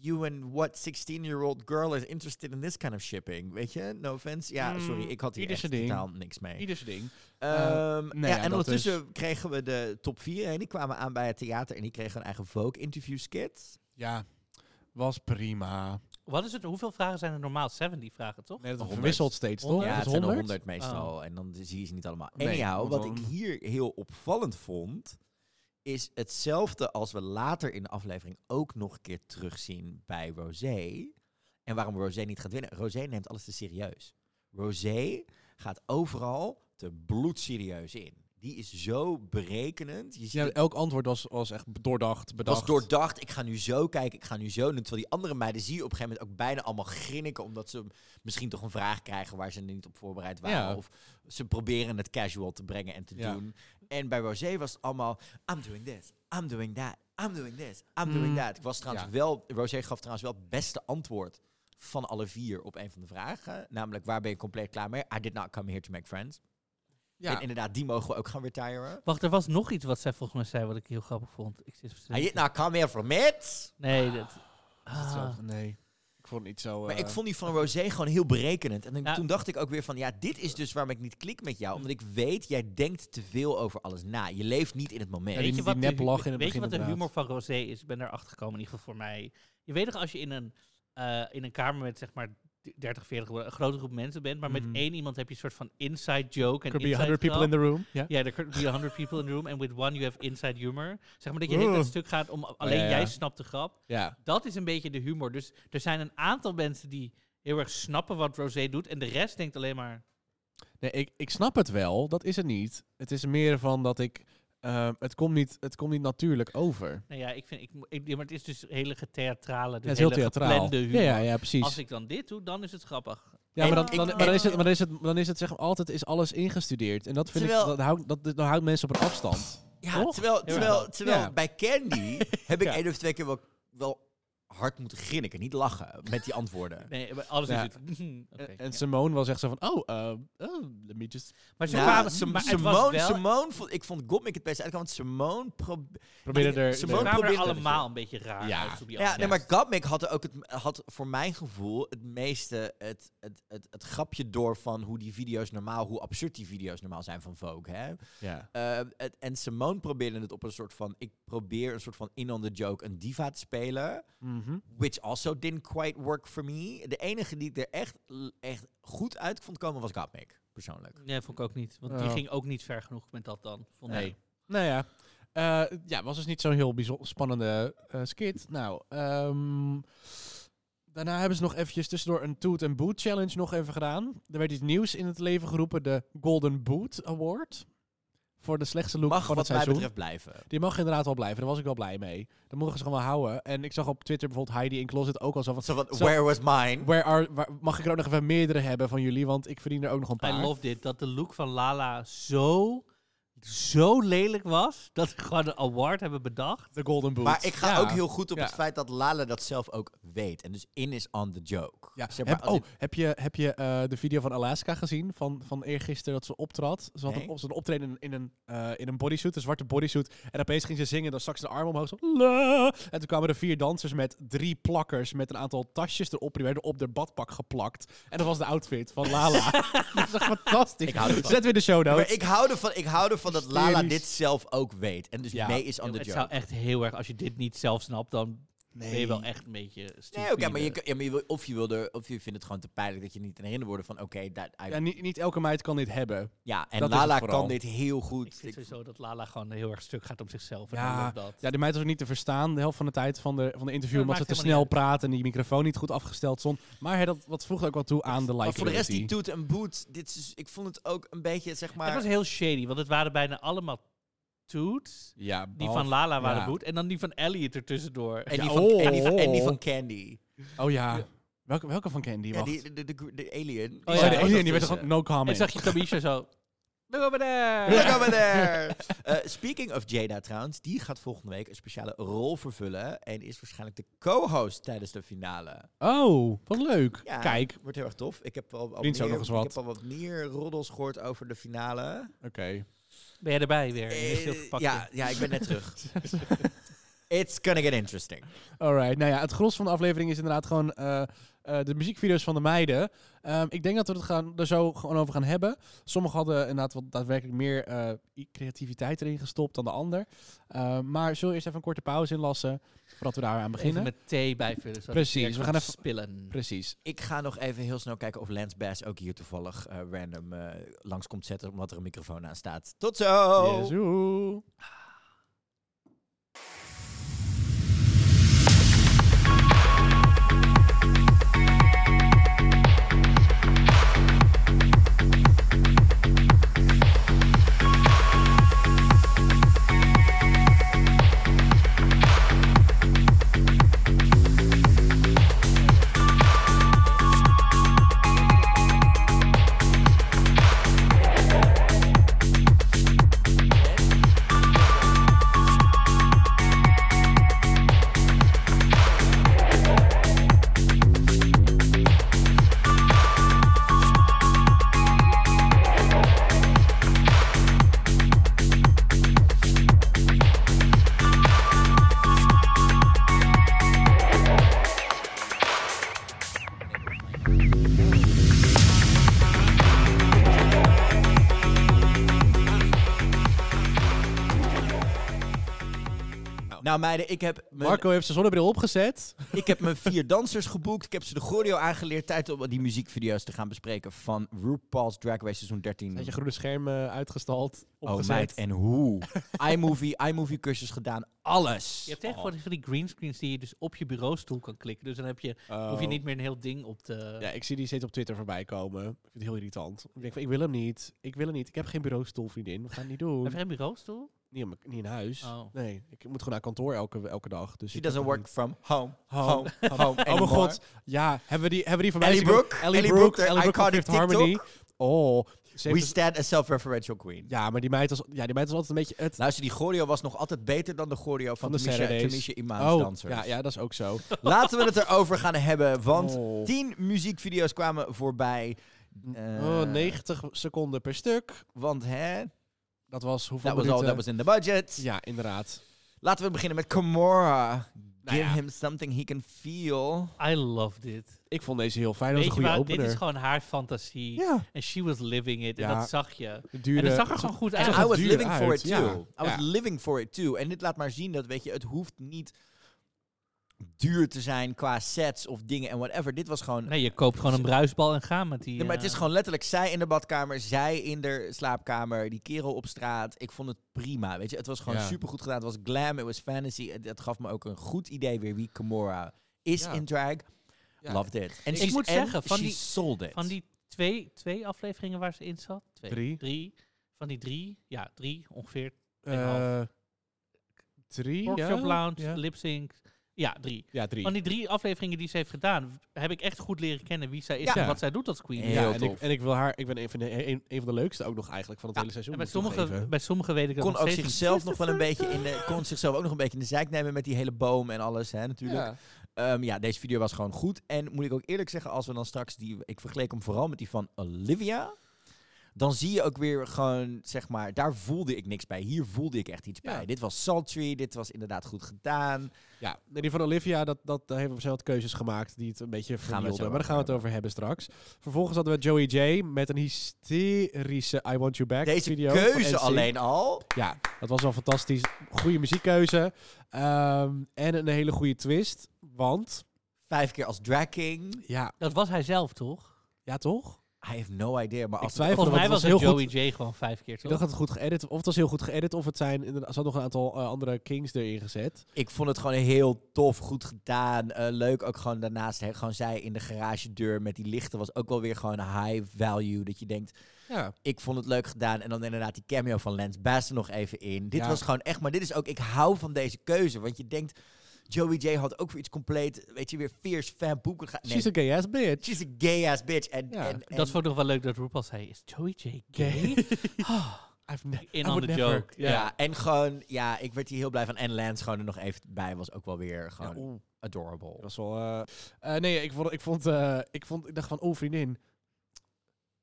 S2: you and what 16-year-old girl is interested in this kind of shipping, weet je? No offense. Ja,
S4: Mm,
S2: sorry, ik had hier
S4: ieder
S2: echt
S4: zijn ding.
S2: totaal niks mee.
S4: Ieder zijn ding.
S2: Ehm,
S4: nee,
S2: ja,
S4: ja,
S2: en
S4: dat
S2: ondertussen kregen we de top 4 en die kwamen aan bij het theater en die kregen een eigen Vogue interview skit.
S4: Ja, was prima.
S1: Wat is het? Hoeveel vragen zijn er normaal? 70 vragen, toch?
S4: Nee, dat
S2: Honderd.
S4: verwisselt steeds, toch?
S1: Ja,
S2: Ja,
S4: Dat
S2: het
S4: is
S2: zijn er
S4: 100.
S2: 100 meestal en dan zie je ze niet allemaal.
S4: Nee,
S2: Anyhow,
S4: want
S2: wat
S4: dan-
S2: ik hier heel opvallend vond, is hetzelfde als we later in de aflevering ook nog een keer terugzien bij Rosé. En waarom Rosé niet gaat winnen. Rosé neemt alles te serieus. Rosé gaat overal te bloedserieus in. Die is zo berekenend. Je ziet
S4: Ja,
S2: het
S4: elk antwoord was, was echt doordacht, bedacht.
S2: was doordacht. Ik ga nu zo kijken, ik ga nu zo doen. Terwijl die andere meiden zie je op een gegeven moment ook bijna allemaal grinniken. Omdat ze misschien toch een vraag krijgen waar ze niet op voorbereid waren.
S4: Ja.
S2: Of ze proberen het casual te brengen en te
S4: Ja.
S2: doen. En bij Rosé was het allemaal, I'm doing this, I'm doing that, I'm doing this, I'm doing that. Ik was trouwens
S4: Mm. Ja.
S2: wel, Rosé gaf trouwens wel het beste antwoord van alle vier op een van de vragen. Namelijk, waar ben je compleet klaar mee? I did not come here to make friends.
S4: Ja.
S2: En inderdaad, die mogen we ook gaan retiren.
S1: Wacht, er was nog iets wat zij volgens mij zei wat ik heel grappig vond. Ik zit
S2: I did not come here from it.
S1: Nee, dat...
S4: Hetzelfde,
S1: Ah.
S4: Nee, ik vond het niet zo...
S2: Maar
S4: eh,
S2: ik vond die van Rosé gewoon heel berekenend. En dan-
S1: Ja.
S2: toen dacht ik ook weer van, ja, dit is dus waarom ik niet klik met jou. Omdat ik weet, jij denkt te veel over alles na. Je leeft niet in het moment.
S4: Ja, die-
S1: wat
S4: nep
S1: de hu-
S4: lach in
S1: weet
S4: het
S1: je
S4: begin
S1: wat de
S4: inderdaad.
S1: humor van Rosé is? Ik ben erachter gekomen, in ieder geval voor mij. Je weet toch, als je in een, eh, in een kamer met zeg maar 30, 40, een grote groep mensen bent, maar
S4: Mhm.
S1: met één iemand heb je een soort van inside joke. En
S4: Could be
S1: inside
S4: 100 people
S1: grap.
S4: in the room. Ja.
S1: Ja, there could be 100 people in the room and with one you have inside humor. Zeg maar dat je heel
S4: Oeh.
S1: het stuk gaat om alleen
S4: ja, ja.
S1: jij snapt de grap.
S4: ja.
S1: Dat is een beetje de humor. Dus er zijn een aantal mensen die heel erg snappen wat Rosé doet en de rest denkt alleen maar...
S4: Nee, ik, ik snap het wel. Dat is het niet. Het is meer van dat ik... ehm, het, komt niet, het komt niet natuurlijk over.
S1: Nou ja, ik vind... Ik, mo- ik, ja, maar het is dus hele getheatrale,
S4: Ja, het
S1: dus
S4: is heel
S1: hele
S4: theatraal.
S1: geplande humor.
S4: Ja, ja, ja, precies.
S1: Als ik dan dit doe, dan is het grappig.
S4: Ja, maar
S2: En
S4: dan,
S2: ik-
S4: dan,
S2: ik-
S4: maar dan is het, maar dan is het, dan is het zeg maar, altijd is alles ingestudeerd. En dat vind
S2: Terwijl-
S4: ik, dat houdt, dat, dat houdt mensen op een afstand.
S2: Ja,
S4: Toch?
S2: terwijl terwijl,
S4: Ja.
S2: terwijl
S4: Ja.
S2: bij Candy heb ik
S4: Ja.
S2: één of twee keer wel, wel hard moeten grinniken. Niet lachen met die antwoorden.
S1: Nee, maar alles is
S4: Ja.
S1: het. Oké,
S4: En- en
S1: ja.
S4: Simone was echt zo van, oh, eh, oh let me just...
S1: Maar ze
S2: Nou,
S1: kwamen...
S2: Sim-
S1: maar het was
S2: Simone,
S1: wel-
S2: Simone vond, ik vond Gottmik het beste uitkomen. Want Simone probeerde...
S4: Probeerde er...
S2: Ze
S1: ze
S2: Simone-
S4: er-
S1: kwamen er
S2: probeert het
S1: allemaal een beetje raar
S4: Ja.
S1: uit op die
S2: Ja, nee,
S1: aflevering.
S2: maar Gottmik had er ook het, had voor mijn gevoel het meeste het, het, het, het grapje door van hoe die video's normaal, hoe absurd die video's normaal zijn van Vogue. Hè?
S4: ja.
S2: Eh, het- en Simone probeerde het op een soort van... Ik probeer een soort van in-on-the-joke een diva te spelen.
S4: Mhm.
S2: Which also didn't quite work for me. De enige die ik er echt, l- echt goed uit vond komen was Gottmik, persoonlijk.
S1: Nee, vond ik ook niet. Want die
S4: Oh.
S1: ging ook niet ver genoeg met dat dan. Vond
S2: Nee.
S1: ik.
S4: Nou ja. Eh, ja, was dus niet zo'n heel bijzonder spannende eh, skit. Nou, ehm, daarna hebben ze nog eventjes tussendoor een Toot and Boot Challenge nog even gedaan. Er werd iets nieuws in het leven geroepen, de Golden Boot Award. voor de slechtste look
S2: Mag
S4: van
S2: wat
S4: het
S2: mij
S4: seizoen.
S2: betreft blijven.
S4: Die mag inderdaad wel blijven. Daar was ik wel blij mee. Dan mogen ze gewoon wel houden. En ik zag op Twitter bijvoorbeeld Heidi in Closet ook al zo van...
S2: Zo van,
S4: Zo-
S2: where was mine?
S4: Where are, waar- mag ik er ook nog even meerdere hebben van jullie? Want ik verdien er ook nog een
S1: I
S4: paar.
S1: love dit. Dat de look van Lala zo, zo lelijk was. Dat ze gewoon een award hebben bedacht.
S4: de Golden Boot.
S2: Maar ik ga
S4: Ja.
S2: ook heel goed op
S4: Ja.
S2: het feit dat Lala dat zelf ook weet. En dus in is on the joke.
S4: Ja.
S2: Zeg maar,
S4: heb,
S2: als
S4: oh,
S2: in-
S4: heb je, heb je eh, de video van Alaska gezien? Van, van eergisteren dat ze optrad. Ze had
S2: Nee.
S4: een, op- ze had een optreden in, in een, eh, in een bodysuit, een zwarte bodysuit. En opeens ging ze zingen, dan stak ze de arm omhoog. Zo, "La." En toen kwamen er vier dansers met drie plakkers met een aantal tasjes erop. Die werden op de badpak geplakt. En dat was de outfit van Lala. dat is echt fantastisch.
S2: Ik hou ervan.
S4: Zet weer de show notes.
S2: maar ik hou ervan, ik hou ervan dat Lala
S4: Hysterisch.
S2: dit zelf ook weet. En dus
S4: Ja.
S2: mee is on the
S1: het
S2: joke.
S1: zou echt heel erg, als je dit niet zelf snapt, dan ben je wel echt een beetje
S2: Nee,
S1: stupide.
S2: oké, maar, je, kan- ja, maar je wil, of, je wil er, of je vindt het gewoon te pijnlijk dat je niet herinnerd wordt van oké, dat I-
S4: Ja, niet, niet elke meid kan dit hebben.
S2: ja, en
S4: dat is het
S2: Lala
S4: vooral.
S2: kan dit heel
S1: Ik
S2: goed.
S1: vind sowieso dat Lala gewoon heel erg stuk gaat op zichzelf. En ik
S4: Ja,
S1: love dat.
S4: ja, die meid was ook niet te verstaan de helft van de tijd van de, van de interview.
S1: Ja,
S4: omdat ze
S1: maakt
S4: te
S1: helemaal
S4: snel
S1: niet
S4: praat en die microfoon niet goed afgesteld stond. Maar hè, dat, dat voegt ook wel toe aan de
S2: maar
S4: likability.
S2: voor de rest die toet en boet, dit is, ik vond het ook een beetje zeg maar...
S1: Het was heel shady, want het waren bijna allemaal toots.
S4: Ja,
S1: Die
S4: behalve-
S1: van Lala waren
S4: ja.
S1: boet. En dan die van Elliot ertussendoor.
S2: en,
S4: Ja,
S2: die van,
S4: oh,
S2: en, die van, en die
S4: oh.
S2: van Candy.
S4: Oh ja. Welke, welke van Candy?
S2: Ja,
S4: Wacht.
S2: die, de, de, de- de alien.
S1: Oh,
S4: Oh,
S1: ja,
S4: de
S1: die
S4: alien, die werd
S2: er
S4: gewoon no
S1: En
S4: comment.
S1: zag je Tamisha zo... Look over there!
S2: Look over there. Eh, speaking of Jada trouwens, die gaat volgende week een speciale rol vervullen. En is waarschijnlijk de co-host tijdens de finale.
S4: Oh, wat leuk.
S2: Ja,
S4: Kijk.
S2: Wordt heel erg tof. Ik heb al, al,
S4: Wint
S2: meer,
S4: ze ook nog eens wat.
S2: Ik heb al wat meer roddels gehoord over de finale.
S4: Oké.
S1: Ben jij erbij weer? In een
S2: Eh,
S1: geel verpakking.
S2: ja, ja, ik ben net terug. It's gonna get interesting.
S4: Alright. Nou ja, het gros van de aflevering is inderdaad gewoon eh, eh, de muziekvideo's van de meiden. Ehm, ik denk dat we het gaan, er zo gewoon over gaan hebben. Sommigen hadden inderdaad wat daadwerkelijk meer eh, i- creativiteit erin gestopt dan de ander. Ehm, maar zullen we eerst even een korte pauze inlassen voordat we daaraan
S1: Even
S4: beginnen?
S1: met thee bijvullen. zodat het
S4: Precies,
S1: weer
S4: we gaan
S1: gaat
S4: even-
S1: spillen.
S4: Precies.
S2: Ik ga nog even heel snel kijken of Lance Bass ook hier toevallig eh, random eh, langs komt zetten. Omdat er een microfoon aan staat. Tot zo!
S1: Oh.
S4: Yes, oeh.
S2: Nou meiden, ik heb... mijn-
S4: Marco heeft zijn zonnebril opgezet.
S1: Mm.
S2: Ik heb mijn vier dansers geboekt. Ik heb ze de choreo aangeleerd. Tijd om die muziekvideo's te gaan bespreken van RuPaul's Drag Race seizoen 13.
S4: Had je groene scherm eh, uitgestald.
S2: oh
S4: Opgezet.
S1: eh,
S2: meid, en hoe. iMovie, iMovie cursus gedaan. Alles.
S1: Je hebt
S4: Oh,
S1: echt van die- van die greenscreens die je dus op je bureaustoel kan klikken. Dus dan heb je, hoef je
S4: Oh.
S1: niet meer een heel ding op te...
S4: Ja, ik zie die steeds op Twitter voorbij komen. Ik vind het heel irritant. Ik denk van, ik wil hem niet. Ik wil hem niet. Ik heb geen bureaustoel, vriendin. We gaan het niet
S1: Heb
S4: doen.
S1: je een bureaustoel?
S4: Niet, in mijn- niet in huis.
S1: Oh.
S4: Nee, ik moet gewoon naar kantoor elke, elke dag. Dus
S2: She
S4: ik heb
S2: doesn't
S4: dat
S2: work
S4: niet.
S2: from home.
S4: Home,
S2: Home, home.
S4: Oh mijn god. Ja, hebben we die, hebben we die van mij
S2: Ellie
S4: gezien?
S2: Brooke.
S4: Ellie
S2: Ellie
S4: Brooke.
S2: Brooke,
S4: Ellie Brooke van
S2: iconic
S4: Fifth Harmony. Oh. ze
S2: We
S4: heeft dus-
S2: stand as self-referential queen.
S4: ja, maar die meid, was, ja, die meid was altijd een beetje het...
S2: Luister, die choreo was nog altijd beter dan de choreo van,
S4: Van de
S2: Tamisha,
S4: Saturdays.
S2: Tamisha Imaan's
S4: Oh,
S2: dansers.
S4: ja, ja, dat is ook zo.
S2: Laten we het erover gaan hebben, want
S4: Oh.
S2: tien muziekvideo's kwamen voorbij. Eh,
S4: Oh, 90 seconden per stuk.
S2: Want hè,
S4: Dat was hoeveel
S2: dat was all
S4: minuten?
S2: that was in the budget.
S4: Ja, inderdaad.
S2: Laten we beginnen met Kamora. Give
S4: Nou ja.
S2: him something he can feel.
S1: I love dit.
S4: Ik vond deze heel fijn. Dat was
S1: Weet
S4: een
S1: je
S4: goede
S1: waar? Dit
S4: opener.
S1: is gewoon haar fantasie.
S4: Ja.
S1: En she was living it. En
S4: Ja.
S1: dat zag je.
S4: Het duurde-
S1: en dat zag er gewoon goed
S4: het
S1: uit.
S4: zag
S2: I was
S4: duur
S2: living for
S4: uit,
S2: it
S4: ja.
S2: too. I was
S4: Ja.
S2: living for it too. En dit laat maar zien dat, weet je, het hoeft niet duur te zijn qua sets of dingen en whatever. Dit was
S4: Mm.
S2: gewoon...
S1: Nee, je koopt gewoon een bruisbal en ga met die.
S2: Nee, maar het
S1: eh,
S2: is gewoon letterlijk zij in de badkamer, zij in de slaapkamer, die kerel op straat. Ik vond het prima, weet je. Het was gewoon
S4: Ja.
S2: supergoed gedaan. Het was glam, het was fantasy. Het, het gaf me ook een goed idee weer wie Kamora is
S4: Ja.
S2: in drag.
S4: Ja.
S2: Loved it. En
S1: Ik
S2: she's-
S1: moet
S2: en
S1: zeggen, van
S2: she
S1: die-
S2: sold it.
S1: Van die twee, twee afleferingen waar ze in zat. Twee,
S4: Drie.
S1: drie van die drie, ja, drie ongeveer.
S4: Eh, drie,
S1: Workshop
S4: ja?
S1: Lounge,
S4: Ja,
S1: Lip Sync. Ja, drie.
S4: ja drie.
S1: Van die drie afleveringen die ze heeft gedaan, heb ik echt goed leren kennen wie zij is
S2: Ja.
S1: en wat zij doet als queen.
S2: Heel
S4: ja, en,
S2: tof.
S4: Ik, en ik wil haar, ik ben een van, de, een, een van de leukste ook nog eigenlijk van het
S1: Ja,
S4: hele seizoen.
S1: En bij
S4: moet ik
S1: sommige,
S4: toegeven.
S1: bij sommige weet ik dat
S2: Kon
S1: nog
S2: ook
S1: steeds niet.
S2: zichzelf nog wel een beetje in de, kon zichzelf ook nog een beetje in de zijk nemen met die hele boom en alles, hè, natuurlijk.
S4: Ja.
S2: Ehm, ja, deze video was gewoon goed. En moet ik ook eerlijk zeggen, als we dan straks die... Ik vergeleek hem vooral met die van Olivia. Dan zie je ook weer gewoon, zeg maar... Daar voelde ik niks bij. Hier voelde ik echt iets
S4: Ja.
S2: bij. Dit was sultry. Dit was inderdaad goed gedaan.
S4: Ja, nee, die van Olivia, dat, dat, daar hebben we zelf wat keuzes gemaakt die het een beetje
S2: het zo
S4: vernielden. Maar daar
S2: over
S4: gaan we het
S2: hebben.
S4: over hebben straks. Vervolgens hadden we Joey J met een hysterische I Want You Back
S2: Deze
S4: video. van NSYNC.
S2: keuze alleen al.
S4: Ja, dat was wel fantastisch. Goede muziekkeuze. Ehm, en een hele goede twist. Want,
S2: Vijf keer als drag king.
S4: ja,
S1: Dat was hij zelf, toch?
S4: ja toch?
S2: I have no idea. Maar
S4: Ik
S2: als
S4: twijfel.
S1: Volgens
S4: want
S1: mij
S4: het
S1: was
S4: was
S1: het
S4: heel
S1: Joey J gewoon vijf keer,
S4: Ik
S1: toch?
S4: dacht dat het goed geëdit, of het was heel goed geëdit, of het zijn, inderdaad, er zat nog een aantal eh, andere kings erin gezet.
S2: ik vond het gewoon heel tof, goed gedaan. Eh, leuk ook gewoon daarnaast. Hè, gewoon zij in de garagedeur met die lichten was ook wel weer gewoon high value. Dat je denkt...
S4: Ja.
S2: ik vond het leuk gedaan. En dan inderdaad die cameo van Lance Bass er nog even in. Dit
S4: Ja.
S2: was gewoon echt, maar dit is ook, ik hou van deze keuze. Want je denkt, Joey J had ook weer iets compleet, weet je, weer fierce fan boeken. Nee,
S4: She's a gay ass bitch.
S2: she's a gay ass bitch. En,
S4: Ja,
S2: en, en-
S1: Dat vond ik nog wel leuk dat RuPaul zei, is Joey J gay?
S4: I've ne- I
S1: In on
S4: would
S1: the
S4: never.
S1: joke.
S2: ja. en gewoon, ja, ik werd hier heel blij van. En Lance gewoon er nog even bij was ook wel weer
S4: Ja,
S2: gewoon
S4: oeh.
S2: adorable.
S4: Dat was wel. eh, eh, nee, ik vond, ik vond, eh, ik vond, ik dacht van, oh vriendin,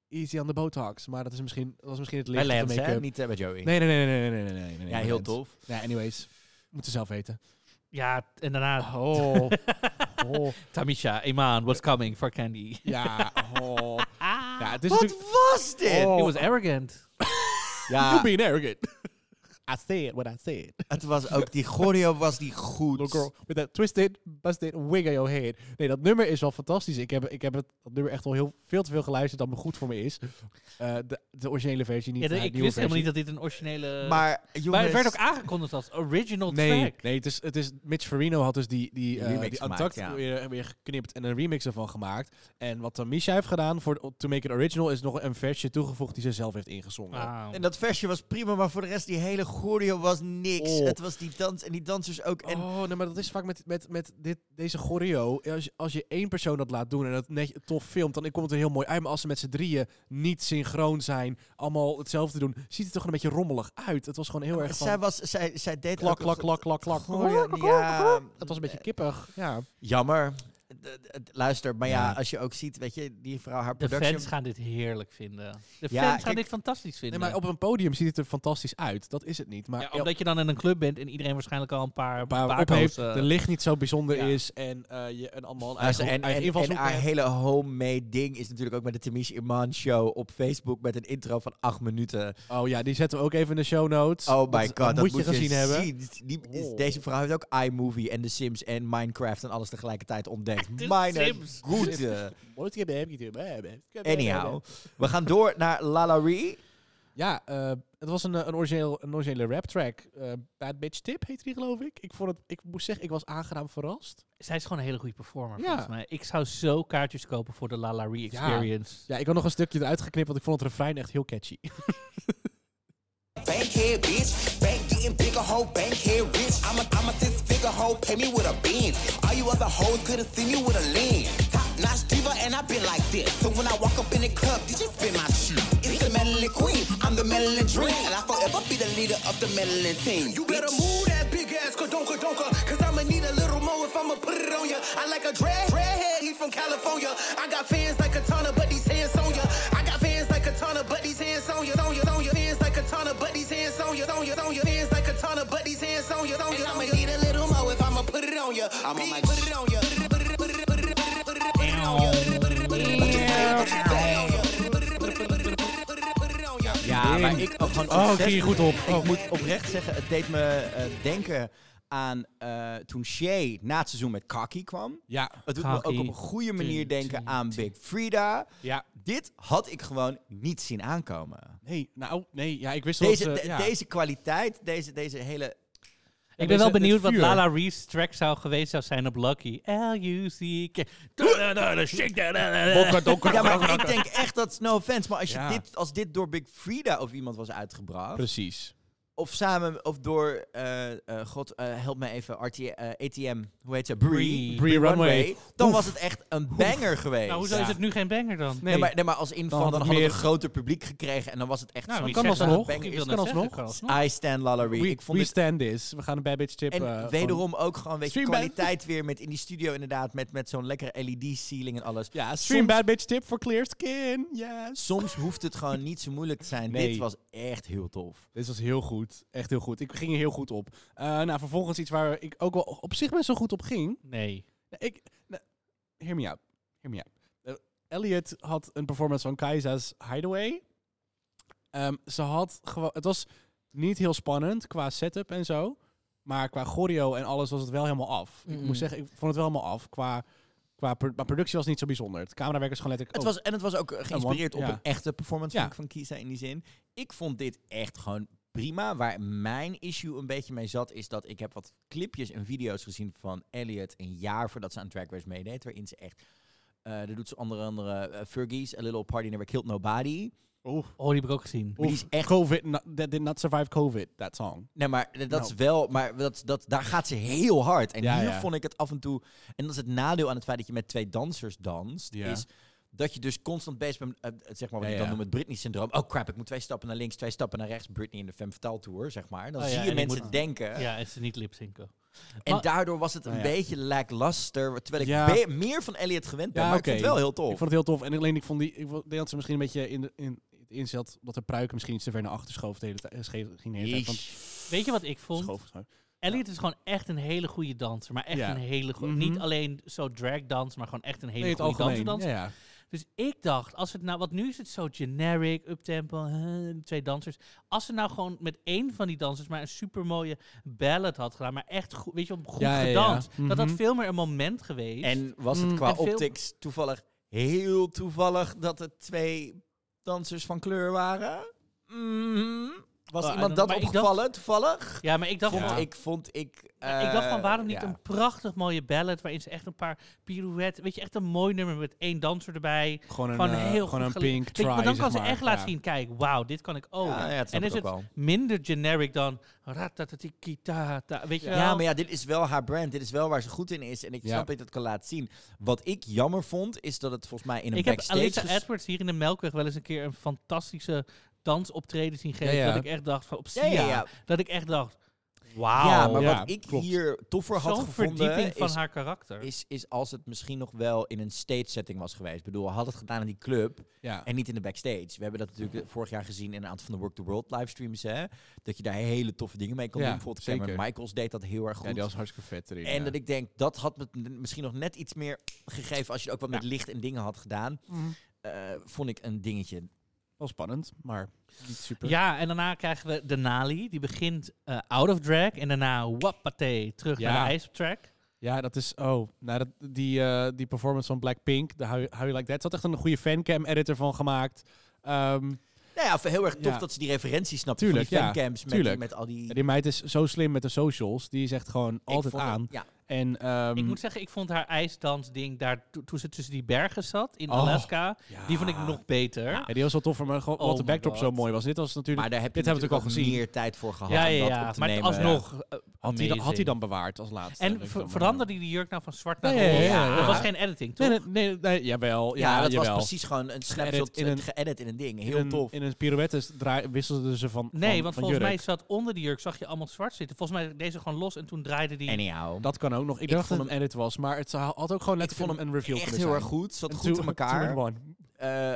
S4: easy on the botox, maar dat is misschien, dat was misschien het
S2: Bij
S4: licht of de
S2: Lance, hè?
S4: make-up.
S2: Niet eh, bij Joey.
S4: Nee, nee, nee, nee, nee, nee, nee, nee, nee, nee,
S2: ja,
S4: nee,
S2: heel
S4: Lance.
S2: tof.
S4: Nee, anyways, moeten zelf weten.
S1: Ja, t- en daarna
S4: Oh, oh,
S1: Tamisha, Iman, what's coming for Candy?
S4: ja, oh. Ja, het is
S2: Wat
S4: natuurlijk.
S2: was dit?
S1: It
S4: Oh.
S1: was arrogant.
S4: You
S2: Ja,
S4: being arrogant. I said what I said.
S2: het was ook, die choreo was die goed.
S4: Little girl with that twisted, busted wig on your head. Nee, dat nummer is wel fantastisch. Ik heb, ik heb het, dat nummer echt al heel, veel te veel geluisterd dat me goed voor me is. Eh, de, de originele versie niet.
S1: Ja,
S4: de
S1: ik
S4: nieuwe
S1: wist helemaal
S4: versie.
S1: niet dat dit een originele...
S2: Maar,
S1: maar het
S2: jongens,
S1: werd ook aangekondigd als original
S4: Nee,
S1: track.
S4: nee het, is, het is Mitch Farino had dus die, die, eh,
S2: remix
S4: die
S2: gemaakt,
S4: Untucked
S2: ja.
S4: weer, weer geknipt en een remix ervan gemaakt. En wat dan Misha heeft gedaan voor To Make It Original is nog een versje toegevoegd die ze zelf heeft ingezongen.
S1: Wauw.
S2: En dat versje was prima, maar voor de rest die hele choreo was niks.
S4: Oh.
S2: Het was die dans en die dansers ook. En
S4: oh, nee, maar dat is vaak met, met, met dit, deze choreo. Als je, als je één persoon dat laat doen en dat net tof filmt, dan komt het er heel mooi uit. Maar als ze met z'n drieën niet synchroon zijn, allemaal hetzelfde doen, ziet het er gewoon een beetje rommelig uit. Het was gewoon heel erg
S2: zij,
S4: van...
S2: was, zij, zij deed
S4: Klak,
S2: ook nog
S4: klak, klak, klak, klak.
S2: choreo. Ja,
S4: Het was een beetje kippig, ja.
S2: jammer. D- d- d- Luister, maar ja,
S4: Ja.
S2: als je ook ziet, weet je, die vrouw, haar
S1: De
S2: production...
S1: fans gaan dit heerlijk vinden. De
S2: Ja,
S1: fans gaan
S2: kijk-
S1: dit fantastisch vinden.
S4: Nee, maar op een podium ziet het er fantastisch uit. Dat is het niet. Maar
S1: Ja, omdat je dan in een club bent en iedereen waarschijnlijk al een paar, eh,
S4: paar
S1: paar
S4: op heeft,
S1: kozen.
S4: de licht niet zo bijzonder
S1: Ja.
S4: is en eh, je en allemaal een
S2: Luister,
S4: eigen,
S2: en,
S4: eigen
S2: en, en
S4: invalshoek
S2: haar
S4: hebt.
S2: hele homemade ding is natuurlijk ook met de Tamish Iman show op Facebook met een intro van acht minuten.
S4: Oh ja, die zetten we ook even in de show notes.
S2: Oh my
S4: Dat-
S2: god, dat
S4: dat moet je gezien hebben.
S2: zien. Die- is-
S4: Oh.
S2: Deze vrouw heeft ook iMovie en The Sims en Minecraft en alles tegelijkertijd ontdekt.
S1: De
S2: Mijn
S1: Sims.
S2: goede.
S4: Anyhow.
S2: Anyhow, we gaan door naar Lalaurie.
S4: Ja, eh, het was een, eh, een, origineel, een originele rap track. Eh, Bad Bitch Tip heette die geloof ik. Ik, vond het, ik moest zeggen, ik was aangenaam verrast.
S1: Zij is gewoon een hele goede performer,
S4: Ja.
S1: volgens mij. Ik zou zo kaartjes kopen voor de La La Ree
S4: Ja.
S1: Experience.
S4: Ja, ik had nog een stukje eruit geknipt, want ik vond het refrein echt heel catchy.
S6: Bankhead bitch, bank getting bigger hoe bankhead rich. I'm a, I'm a six figure hoe, pay me with a bean. All you other hoes couldn't see me with a lean. Top notch diva, and I've been like this. So when I walk up in the club, did you spin my shoe? It's the Madeline Queen, I'm the Madeline Dream, and I forever be the leader of the Madeline team. You better move that big ass kadonka donka, cause I'ma need a little more if I'ma put it on ya. I like a dread, dreadhead, he from California. I got fans like Katana, but these hands on ya. I got fans like Katana, but these hands on ya, on ya, on ya. Fans like Katana, but these hands on ya, on ya, on ya. Fans like Katana, but these hands on ya, on ya. I'ma need a little more if I'ma put it on ya. I'm on my put it on ya. Put it, put it, put it, put it, put it, put it on ya. Put it, put it, put it, put it, put it on ya. Put it, put it, put it, put it, put it on ya.
S2: Ja, maar ik ook gewoon
S4: Oh,
S2: obsessed
S4: ging je goed op.
S2: Ik moet oprecht zeggen, het deed me eh, denken aan eh, toen Shay na het seizoen met Kaki kwam.
S4: Ja.
S2: Het doet me
S1: Kaki.
S2: ook op een goede manier
S1: Ting,
S2: denken
S1: ting,
S2: aan Big Frida.
S4: Ja.
S2: Dit had ik gewoon niet zien aankomen.
S4: Nee, nou, nee. Ja, ik wist wel
S2: Deze,
S4: dat ze-
S2: de-
S4: ja.
S2: deze kwaliteit, deze, deze hele...
S1: Ik ben
S4: deze-
S1: wel
S4: dit
S1: benieuwd wat
S4: vuur.
S1: Lala Ree's track zou geweest zou zijn op Lucky. L-U-C-K. Da-da-da-da, shake that.
S2: Ja, maar ik denk echt dat, no offense, maar als, je
S4: Ja.
S2: dit, als dit door Big Frida of iemand was uitgebracht,
S4: Precies.
S2: of samen, of door, eh, eh, god, eh, help mij even, RT, eh, ATM, hoe heet ze? Bree.
S1: Bree.
S4: Bree Runway.
S2: Dan
S4: Oef.
S2: was het echt een banger geweest.
S1: Nou, hoezo is het nu geen banger dan?
S2: Nee, maar, nee, maar als in van, dan
S4: had
S2: hadden
S4: het
S2: we een
S4: meer-
S2: groter publiek gekregen en dan was het echt
S1: Nou,
S2: zo'n
S1: wie
S4: kan
S1: zegt dat
S4: alsnog.
S1: het banger
S4: Ik
S1: is?
S4: kan
S1: Kan
S4: alsnog.
S1: alsnog.
S2: I stand Lallery.
S4: We,
S2: Ik vond
S4: we
S2: het
S4: stand this. We gaan een bad bitch tip.
S2: en
S4: eh,
S2: wederom ook gewoon, weet je,
S4: Stream band.
S2: kwaliteit weer met in die studio inderdaad, met, met zo'n lekkere LED-ceiling en alles.
S4: van- ja, stream
S2: soms-
S4: bad bitch tip voor clear skin. Yes.
S2: Soms hoeft het gewoon niet zo moeilijk te zijn.
S4: Nee.
S2: Dit was echt heel tof.
S4: Dit was heel goed. Echt heel goed. Ik ging er heel goed op. Eh, nou, vervolgens iets waar ik ook wel op zich best wel goed op ging.
S1: Nee.
S4: Nou, ik, nou, hear me out. Hear me out. Eh, Elliot had een performance van Kaisa's Hideaway. Ehm, ze had gewoon... Het was niet heel spannend qua setup en zo. Maar qua choreo en alles was het wel helemaal af. Ik moet zeggen, ik vond het wel helemaal af. Qua, qua pro- maar productie was niet zo bijzonder. Het camerawerk is gewoon
S2: Het
S4: letterlijk... oh,
S2: was, en het was ook eh, geïnspireerd op
S4: ja.
S2: een echte performance van,
S4: Ja.
S2: van Kisa in die zin. Ik vond dit echt gewoon prima. Waar mijn issue een beetje mee zat, is dat ik heb wat clipjes en video's gezien van Elliot een jaar voordat ze aan Drag Race meedeed. Waarin ze echt, eh daar doet ze onder andere eh, Fergie's, A Little Party Never Killed Nobody.
S1: Oh, die heb ik ook gezien.
S2: die
S4: Of
S2: is echt-
S4: COVID, not, that did not survive COVID, that song.
S2: Nee, maar dat
S4: Nou.
S2: is wel, maar dat, dat, daar gaat ze heel hard. En
S4: Ja,
S2: hier
S4: ja.
S2: vond ik het af en toe, en dat is het nadeel aan het feit dat je met twee dansers danst,
S4: Ja.
S2: is dat je dus constant bezig bent, eh, zeg maar wat
S4: Ja,
S2: ik
S4: ja.
S2: dan noem het Britney-syndroom. Oh crap, ik moet twee stappen naar links, twee stappen naar rechts. Britney in de Femme Fatale Tour, zeg maar. Dan
S1: Oh ja,
S2: zie
S1: en
S2: je
S1: ik
S2: mensen
S1: moet-
S2: denken.
S1: Ja, en ze niet lipzinken.
S2: En
S1: Maar-
S2: daardoor was het een
S4: Oh, ja.
S2: beetje lackluster, terwijl ik
S4: Ja.
S2: be- meer van Elliot gewend ben.
S4: Ja,
S2: maar
S4: oké.
S2: ik vond het wel heel tof.
S4: Ik vond het heel tof. En alleen ik vond die. Ik vo- denk dat ze misschien een beetje in, de, in het inzet. dat de pruiken misschien iets te ver naar achter schoof. De hele tijd. eh, schee- Ging de hele tijd. Want,
S1: Weet je wat ik vond?
S4: schoof, schoof.
S1: Elliot is gewoon echt een hele goede danser. Maar echt
S4: Ja.
S1: een hele goede...
S4: Mhm.
S1: Niet alleen zo drag dans, maar gewoon echt een hele
S4: Nee, het
S1: goede danser.
S4: algemeen.
S1: danser.
S4: Ja, ja.
S1: Dus ik dacht, als het nou... Want nu is het zo generic, uptempo, huh, twee dansers. Als ze nou gewoon met één van die dansers maar een supermooie ballad had gedaan. Maar echt goed, weet je, goed
S4: Ja, ja, ja.
S1: gedanst. Dat had
S4: Mhm.
S1: veel meer een moment geweest.
S2: En was het qua
S1: en veel-
S2: optics toevallig heel toevallig dat het twee dansers van kleur waren? Mhm. Was
S1: Ah,
S2: iemand
S1: en-
S2: dat
S1: maar ik dacht-
S2: opgevallen toevallig?
S1: ja, maar ik dacht...
S2: Vond
S1: van-
S2: ik, vond ik...
S1: Maar ik dacht van,
S2: eh,
S1: waarom niet
S2: ja.
S1: een prachtig mooie ballad... waarin ze echt een paar pirouettes... weet je, echt een mooi nummer met één danser erbij.
S4: Gewoon een,
S1: Gewoon
S4: eh,
S1: heel
S4: gewoon
S1: goed
S4: een
S1: gele-
S4: pink
S1: Weet je,
S4: try.
S1: Maar dan kan
S4: zeg
S1: ze
S4: maar.
S1: echt laten
S4: Ja.
S1: zien, kijk, wauw, dit kan ik ook.
S2: Ja, ja, dat snap
S1: en is
S2: ik
S1: het
S2: ook wel.
S1: minder generic dan... ratatatikita, weet je
S2: Ja,
S1: wel?
S2: maar ja, dit is wel haar brand. Dit is wel waar ze goed in is. En ik
S4: Ja.
S2: snap dat ik dat kan laten zien. Wat ik jammer vond, is dat het volgens mij in een
S1: Ik heb
S2: backstage...
S1: Alyssa
S2: ges-
S1: Edwards hier in de Melkweg wel eens een keer een fantastische dansoptreden zien geven.
S4: Ja, ja.
S1: Dat ik echt dacht van op
S2: Ja,
S1: Sia.
S2: ja, ja.
S1: Dat ik echt dacht, wauw.
S2: ja, maar
S4: Ja,
S2: wat ik
S4: klopt.
S2: hier toffer had
S1: Zo'n
S2: gevonden...
S1: verdieping van
S2: is
S1: haar karakter.
S2: is, is als het misschien nog wel in een stage setting was geweest. Ik bedoel, had het gedaan in die club
S4: Ja.
S2: en niet in de backstage. We hebben dat natuurlijk eh, vorig jaar gezien in een aantal van de Work the World livestreams. Hè? Dat je daar hele toffe dingen mee kon
S4: Ja,
S2: doen. Bijvoorbeeld
S4: zeker.
S2: Cameron Michaels deed dat heel erg
S4: ja,
S2: goed.
S4: die was hartstikke vet erin.
S2: en
S4: ja.
S2: dat ik denk, dat had me n- misschien nog net iets meer gegeven als je ook wat met licht en dingen had gedaan. Eh, vond ik een dingetje.
S4: Wel spannend, maar niet super.
S1: Ja, en daarna krijgen we Denali. Die begint eh, out of drag. En daarna wappatee, terug
S4: Ja.
S1: naar de ijsoptrack.
S4: Ja, dat is. Oh, nou, dat, die, eh, die performance van Blackpink. De How, You- How You Like That. Zat echt een goede fancam-editor van gemaakt. Ehm,
S2: Nou ja, heel erg tof
S4: Ja.
S2: dat ze die referentie snapt van die
S4: Tuurlijk, ja.
S2: fancams met, die-
S4: Tuurlijk.
S2: met al die...
S4: die meid is zo slim met de socials. Die is echt gewoon
S2: Ik
S4: altijd
S2: vond het-
S4: aan.
S2: ja,
S4: En, ehm,
S1: Ik moet zeggen, ik vond haar ijsdansding daar to- toen ze tussen die bergen zat in
S4: Oh,
S1: Alaska.
S4: ja.
S1: Die vond ik nog beter.
S4: Ja, die was wel tof, maar gewoon, wat
S1: Oh
S4: de
S1: my
S4: backdrop zo
S1: God.
S4: mooi was. Dit was natuurlijk.
S2: maar daar heb je
S4: dit hebben we natuurlijk al
S2: natuurlijk ook
S4: gezien.
S2: meer tijd voor gehad
S1: Ja,
S2: om dat
S1: ja, ja.
S2: op te
S1: maar
S2: nemen.
S1: alsnog. eh,
S4: Had hij, dan, had hij
S1: amazing.
S4: dan bewaard als laatste?
S1: En
S4: denk ik dan
S1: ver-
S4: maar.
S1: veranderde hij die jurk nou van zwart naar
S4: Nee,
S1: roze?
S4: ja, ja, ja.
S1: Dat was geen editing, toch?
S4: Nee, nee, nee, nee, jawel.
S2: Ja,
S4: Ja,
S2: dat
S4: jawel.
S2: was precies gewoon een snapshot
S4: Geëdit in
S2: in
S4: een-
S2: geëdit in een ding.
S4: In
S2: Heel
S4: een-
S2: tof.
S4: In een pirouettes draai- wisselden ze van.
S1: Nee, want
S4: van- van
S1: volgens mij
S4: jurk.
S1: zat onder die jurk, zag je allemaal zwart zitten. Volgens mij deed ze gewoon los en toen draaide die...
S2: Anyhow.
S4: Dat kan ook nog. Ik, dacht
S2: vond
S4: dat het een edit was, maar het zou- had ook gewoon
S2: ik
S4: letterlijk
S2: vond hem
S4: een reveal
S2: echt
S4: kunnen
S2: heel
S4: zijn.
S2: erg goed. Zat
S4: Een
S2: goed
S4: two-
S2: in elkaar.
S4: two in one.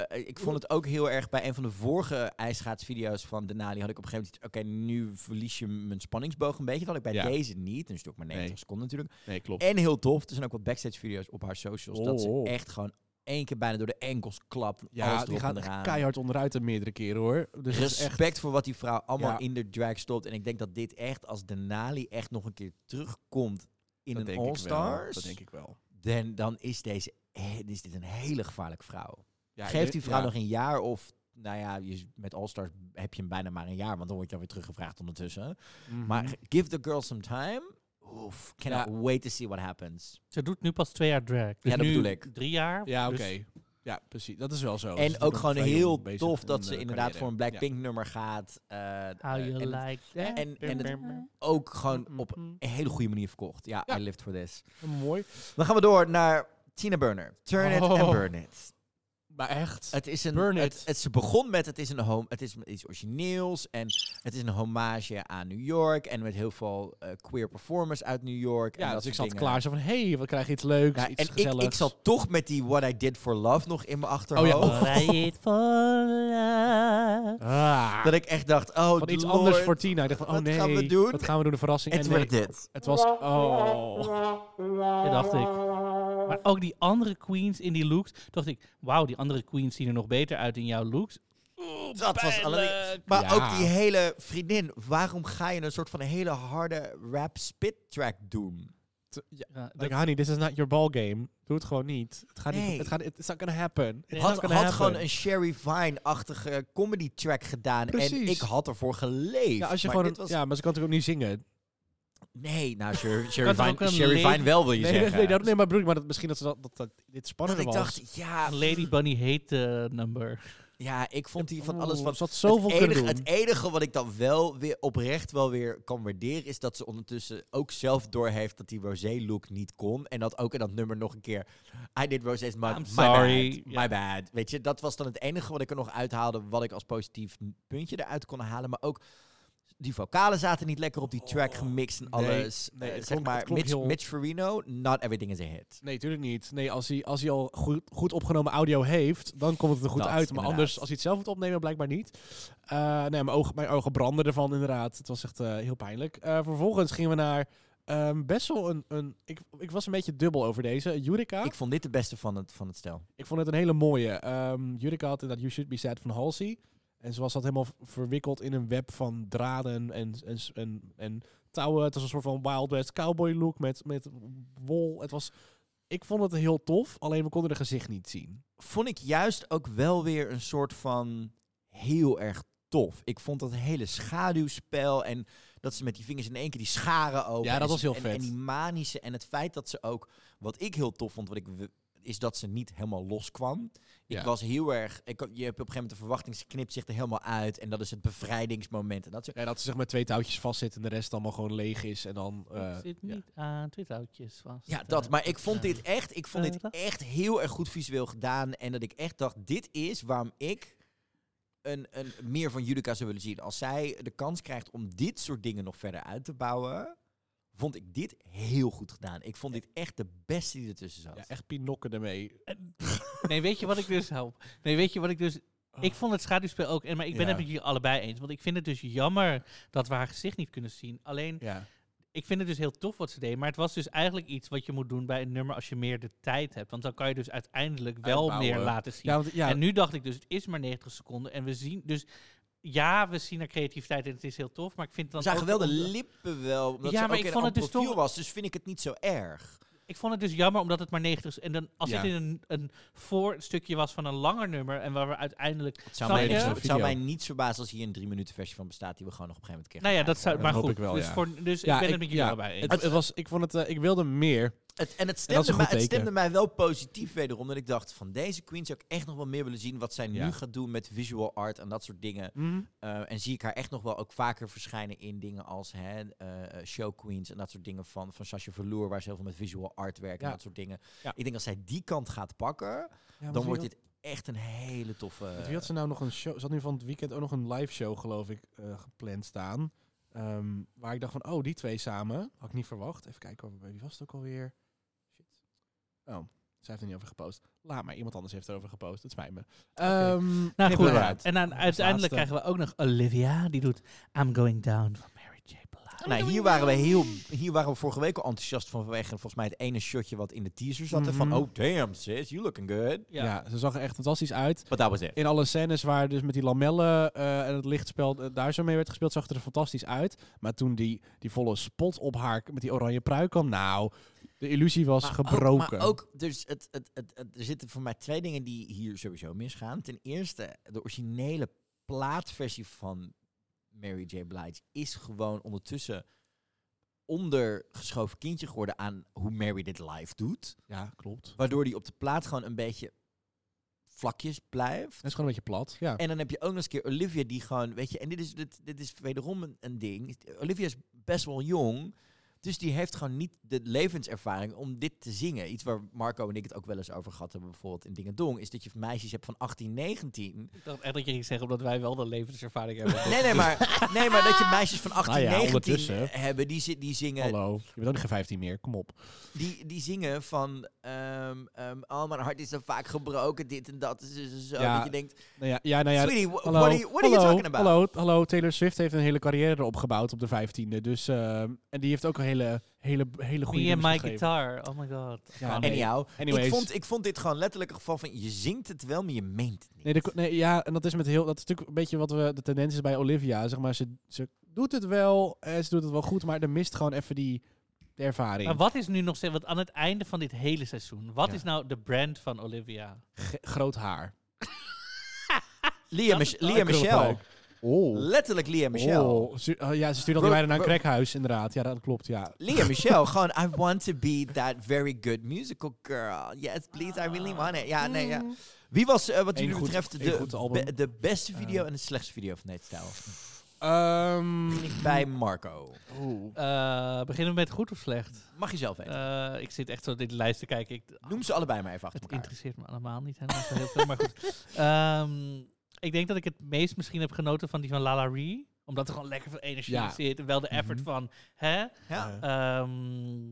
S2: Eh, ik vond het ook heel erg bij een van de vorige ijsschaatsvideo's van Denali had ik op een gegeven moment zoiets, oké, nu verlies je mijn spanningsboog een beetje. Dat had ik bij
S4: Ja.
S2: deze niet. Dan is het ook maar 90
S4: Nee.
S2: seconden natuurlijk.
S4: Nee, klopt.
S2: En heel tof. Er zijn ook wat backstage video's op haar socials. Dat ze
S4: Oh.
S2: echt gewoon één keer bijna door de enkels klapt.
S4: Ja,
S2: alles
S4: die
S2: erop
S4: gaan
S2: en
S4: echt
S2: eraan.
S4: keihard onderuit de meerdere keren hoor. Dus het is echt-
S2: Respect voor wat die vrouw allemaal
S4: Ja.
S2: in de drag stopt. En ik denk dat dit echt, als Denali echt nog een keer terugkomt in
S4: dat
S2: een
S4: denk ik wel.
S2: All-Stars.
S4: Dat denk ik wel.
S2: dan, dan is, deze, eh, is dit een hele gevaarlijke vrouw.
S4: Ja,
S2: Geef
S4: ik-
S2: die vrouw
S4: ja.
S2: nog een jaar of nou ja, je, met All-Stars heb je hem bijna maar een jaar, want dan word je alweer teruggevraagd ondertussen.
S4: Mhm.
S2: Maar give the girl some time. Oef, cannot wait to see what happens.
S1: Ze doet nu pas twee jaar drag. Dus
S2: Ja, dat
S1: nu
S2: bedoel ik.
S1: Drie jaar.
S4: Ja, oké.
S1: dus-
S4: Ja, precies. Dat is wel zo. Oh, Ze
S2: en
S4: zijn
S2: ook
S4: nog
S2: gewoon
S4: vrij
S2: heel
S4: jong bezig
S2: tof
S4: in
S2: dat
S4: hun,
S2: ze
S4: eh,
S2: inderdaad
S4: carrière.
S2: voor een Blackpink nummer gaat. eh,
S1: How
S2: eh,
S1: you
S2: en het
S1: like that.
S2: en- en het-
S1: Bum, bum,
S2: ook gewoon op
S1: bum.
S2: een hele goede manier verkocht. Ja, I lived for this.
S4: Ja, Mm-hmm. mooi.
S2: Dan gaan we door naar Tina Burner. Turn it and
S4: Oh.
S2: burn it.
S4: Maar echt.
S2: Het is een,
S4: Burn
S2: het,
S4: it.
S2: het- ze begon met het is een home, het is iets origineels en het is een hommage aan New York en met heel veel eh, queer performers uit New York. en
S4: ja,
S2: dat
S4: dus ik zat
S2: soort dingen.
S4: klaar zo van, hé, hey, we krijgen iets leuks,
S2: Ja,
S4: iets
S2: en ik,
S4: gezelligs.
S2: ik zat toch met die What I Did for Love nog in mijn achterhoofd.
S4: Oh ja.
S1: Try it for love.
S4: Ah,
S2: Dat ik echt dacht, oh
S4: van iets
S2: Lord,
S4: anders voor Tina. Ik dacht van, oh
S2: wat
S4: nee,
S2: gaan we doen?
S4: wat gaan we doen, een verrassing.
S2: Het
S4: en nee,
S2: werd dit.
S4: Het was, oh.
S1: Dat dacht ik. Maar ook die andere queens in die looks. Dacht ik, wauw, die andere queens zien er nog beter uit in jouw looks.
S2: Dat was alleen. Maar
S4: Ja.
S2: ook die hele vriendin, waarom ga je een soort van hele harde rap spit track doen?
S1: Ja, dat-
S4: Like, honey, this is not your ball game. Doe het gewoon niet. Het gaat
S2: Nee.
S4: niet, het gaat, it's not gonna happen. It's
S2: Had,
S4: not gonna
S2: had
S4: happen.
S2: gewoon een Sherry Vine-achtige eh, comedy track gedaan. En
S4: Precies.
S2: ik had ervoor geleefd.
S4: ja, als je
S2: maar
S4: gewoon
S2: dit
S4: een-
S2: was...
S4: ja, maar ze kan natuurlijk ook niet zingen.
S2: Nee, nou, Sher- Sherry,
S1: toch ook
S2: Vine,
S1: een
S2: Sherry
S1: lady-
S2: Vine wel wil je
S4: Nee, nee,
S2: zeggen.
S4: nee, dat, nee, maar bedoel ik, maar dat, misschien dat, ze dat, dat, dat dit
S2: dat
S4: spannender
S2: ik
S4: was.
S2: dacht, ja,
S1: Lady Bunny heet eh, number.
S2: ja, ik vond die van alles
S4: Oeh,
S2: van...
S4: ze had zoveel
S2: het,
S4: kunnen
S2: enige,
S4: doen.
S2: het enige wat ik dan wel weer oprecht wel weer kan waarderen... is dat ze ondertussen ook zelf doorheeft dat die Rosé-look niet kon. En dat ook in dat nummer nog een keer... I did Rosé's, my,
S1: I'm
S2: my
S1: sorry.
S2: bad, my
S1: Ja.
S2: bad. Weet je, dat was dan het enige wat ik er nog uithaalde... wat ik als positief puntje eruit kon halen. Maar ook... Die vocalen zaten niet lekker op die track gemixt en
S4: Oh, nee,
S2: alles.
S4: nee,
S2: Eh,
S4: het
S2: zeg
S4: klonk-
S2: maar,
S4: het klonk
S2: Mitch,
S4: heel-
S2: Mitch Farino, not everything is a hit.
S4: Nee, tuurlijk niet. Nee, als hij, als hij al goed, goed opgenomen audio heeft, dan komt het er goed
S2: Dat,
S4: uit. Maar
S2: inderdaad.
S4: anders, als hij het zelf moet opnemen, blijkbaar niet. Eh, nee, mijn ogen, mijn ogen brandden ervan inderdaad. Het was echt eh, heel pijnlijk. Eh, vervolgens gingen we naar ehm, best wel een... een ik, ik was een beetje dubbel over deze. Jurica.
S2: Ik
S4: Ik,
S2: vond dit de beste van het, van het stel.
S4: vond het een hele mooie. Ehm Jurica had inderdaad You Should Be Sad van Halsey. En ze was dat helemaal v- verwikkeld in een web van draden en, en, en, en touwen. Het was een soort van Wild West cowboy look met, met wol. Het was... Ik vond het heel tof, alleen we konden haar gezicht niet zien.
S2: vond ik juist ook wel weer een soort van heel erg tof. Ik vond dat hele schaduwspel en dat ze met die vingers in één keer die scharen open.
S4: Ja, dat
S2: en
S4: was
S2: ze-
S4: heel
S2: en-
S4: vet.
S2: En die manische en het feit dat ze ook, wat ik heel tof vond, wat ik w- is dat ze niet helemaal loskwam. Ik
S4: Ja.
S2: was heel erg, ik, had- je hebt op een gegeven moment de verwachting, ze knipt zich er helemaal uit en dat is het bevrijdingsmoment. En dat soort-
S4: Ja, dat ze zeg maar twee touwtjes vastzit en de rest allemaal gewoon leeg is. En dan... eh,
S1: ik zit
S4: ja.
S1: niet aan twee touwtjes vast.
S2: Ja, dat. Maar ik vond dit echt, ik vond dit
S1: Eh, dat-
S2: echt heel erg goed visueel gedaan. En dat ik echt dacht, dit is waarom ik een, een meer van Judica zou willen zien. Als zij de kans krijgt om dit soort dingen nog verder uit te bouwen, vond ik dit heel goed gedaan. Ik vond dit echt de beste die ertussen zat.
S4: Ja, echt pinokken ermee.
S1: Nee, weet je wat ik dus help? Nee, weet je wat ik dus.
S2: Oh.
S1: Ik vond het schaduwspel ook. En, maar ik ben
S4: Ja.
S1: het met jullie allebei eens. Want ik vind het dus jammer dat we haar gezicht niet kunnen zien. Alleen,
S4: Ja.
S1: ik vind het dus heel tof wat ze deed. Maar het was dus eigenlijk iets wat je moet doen bij een nummer als je meer de tijd hebt. Want dan kan je dus uiteindelijk wel
S4: Uitbouwen.
S1: meer laten zien.
S4: Ja, want, ja,
S1: En nu dacht ik dus, het is maar 90 seconden. En we zien dus. Ja, we zien haar creativiteit en het is heel tof. Maar ik vind het
S2: We
S1: dan.
S2: zagen
S1: ook
S2: wel de
S1: om-
S2: lippen wel, omdat
S1: Ja,
S2: ze
S1: maar
S2: ook
S1: ik
S2: in
S1: vond
S2: een
S1: het dus
S2: profiel
S1: toch-
S2: was. Dus vind ik het niet zo erg.
S1: Ik vond het dus jammer omdat het maar 90 is. En dan als
S4: Ja.
S1: het in een, een voorstukje was van een langer nummer. En waar we uiteindelijk.
S2: Het zou,
S1: Snap
S2: mij,
S1: je?
S2: niks-
S4: Zo'n
S2: het zou
S4: video.
S2: mij niet verbazen als hier een drie minuten versie van bestaat die we gewoon nog op een gegeven moment krijgen.
S1: Nou ja, dat zou.
S4: dat
S1: Maar
S4: hoop
S1: goed,
S4: ik wel,
S1: dus,
S4: ja.
S1: voor, dus
S4: ja,
S1: ik ben het met jullie allebei eens.
S4: het, het was, ik, vond het, eh, ik wilde meer.
S2: Het, en het
S4: En dat is
S2: stemde,
S4: een
S2: mij,
S4: goed
S2: het
S4: teken.
S2: stemde mij wel positief wederom. Dat ik dacht, van deze queen zou ik echt nog wel meer willen zien. Wat zij
S4: Ja.
S2: nu gaat doen met visual art en dat soort dingen.
S1: Mhm.
S2: Eh, en zie ik haar echt nog wel ook vaker verschijnen in dingen als hè, eh, eh, show queens. En dat soort dingen van, van Sasha Verloor. Waar ze heel veel met visual art werkt en
S4: Ja.
S2: dat soort dingen.
S4: Ja.
S2: Ik denk als zij die kant gaat pakken. dan wordt dit echt een hele toffe...
S4: Wie had ze nou nog een show? Ze had nu van het weekend ook nog een live show, geloof ik, eh, gepland staan. Ehm, waar ik dacht van, oh, die twee samen. Had ik niet verwacht. Even kijken, waar- wie was het ook alweer? Shit. Oh, zij heeft er niet over gepost. Laat maar, iemand anders heeft erover gepost. Het spijt me. Ehm,
S1: Nou
S4: knip
S1: goed,
S4: eruit.
S1: en dan uiteindelijk krijgen
S4: laatste.
S1: we ook nog Olivia. Die doet I'm Going Down van Mary J. Blige.
S2: Nou, hier waren we heel, hier waren we vorige week al enthousiast van vanwege volgens mij het ene shotje wat in de teaser zat. en Van,
S4: Mhm.
S2: oh damn sis, you looking good.
S1: Ja.
S4: Ja. ze zag er echt fantastisch uit.
S2: But that was it.
S4: In alle scènes waar dus met die lamellen eh, en het lichtspel eh, daar zo mee werd gespeeld, zag het er fantastisch uit. Maar toen die, die volle spot op haar k- met die oranje pruik kwam, nou, De illusie was
S2: Maar
S4: gebroken.
S2: Ook, maar ook, dus het, het, het, het- er zitten voor mij twee dingen die hier sowieso misgaan. Ten eerste, de originele plaatversie van Mary J. Blige is gewoon ondertussen ondergeschoven kindje geworden aan hoe Mary dit live doet.
S4: Ja, klopt. Het
S2: Waardoor die op de plaat gewoon een beetje vlakjes blijft.
S4: is gewoon een beetje plat. Ja.
S2: En dan heb je ook nog eens een keer Olivia die gewoon, weet je, en dit is, dit, dit is wederom een, een ding. Olivia is best wel jong, dus die heeft gewoon niet de levenservaring om dit te zingen. Iets waar Marco en ik het ook wel eens over gehad hebben, bijvoorbeeld in Dingedong, is dat je meisjes hebt van 18, 19.
S1: Ik dacht echt dat je ging zeggen omdat wij wel de levenservaring hebben.
S2: Nee, nee, maar, nee, maar dat je meisjes van 18,
S4: Nou ja,
S2: 19
S4: ondertussen.
S2: hebben die, zi- die zingen
S4: Hallo, je bent ook geen 15 meer, kom op.
S2: Die, die zingen van, ehm ehm, oh mijn hart is zo vaak gebroken, dit en dat. Dus dus zo,
S4: Ja.
S2: dat je denkt,
S4: Nou ja, ja, nou ja,
S2: sweetie, wh-
S4: hallo,
S2: what are you, what are you
S4: hallo,
S2: talking about?
S4: Hallo, hallo, Taylor Swift heeft een hele carrière erop gebouwd op de 15e. Dus, ehm, en die heeft ook een hele, hele, hele goede
S1: Me and
S4: nummers
S1: my
S4: gegeven.
S1: guitar. Oh my god. I can't
S4: nee.
S1: wait.
S2: Anyhow,
S4: Anyways.
S2: ik vond, ik vond dit gewoon letterlijk een geval van je zingt het wel, maar je meent het niet.
S4: Nee, de- nee, ja, en dat is met heel. Dat is natuurlijk een beetje wat we de tendens is bij Olivia. Zeg maar, ze, ze doet het wel, en ze doet het wel goed, maar er mist gewoon even die de ervaring.
S1: Maar wat is nu nog steeds, want aan het einde van dit hele seizoen, wat is nou de brand van Olivia?
S4: Ge- groot haar.
S2: Lia, Mich- Lia Michelle.
S4: Oh.
S2: Letterlijk Lia Michelle.
S4: Oh, ze- oh ja, ze stuurde al
S2: Bro-
S4: die meiden naar een
S2: bro-
S4: crackhuis, inderdaad. Ja, dat klopt, ja.
S2: Lia Michelle, gewoon I want to be that very good musical girl. Yes, please, I really want it. Ja, nee, ja. Wie was, eh, wat
S4: Eén
S2: jullie
S4: goed-
S2: betreft,
S4: één
S2: de,
S4: goed album. Eh.
S2: be- de beste video en de slechtste video van dit stijl?
S4: Ehm,
S2: Begin ik bij Marco.
S1: Eh, beginnen we met goed of slecht?
S2: Mag je zelf weten.
S1: Eh, ik zit echt zo dit lijst te kijken. Ik,
S4: Eh.
S2: Noem ze allebei maar even achter
S1: het
S2: elkaar.
S1: interesseert me allemaal niet helemaal zo heel veel, maar goed. Ehm, ik denk dat ik het meest misschien heb genoten van die van Lalari omdat er gewoon lekker veel energie
S4: Ja. Mhm.
S1: in zit. En wel de effort van, hè?
S4: Eh.
S2: Ja?
S1: Ehm,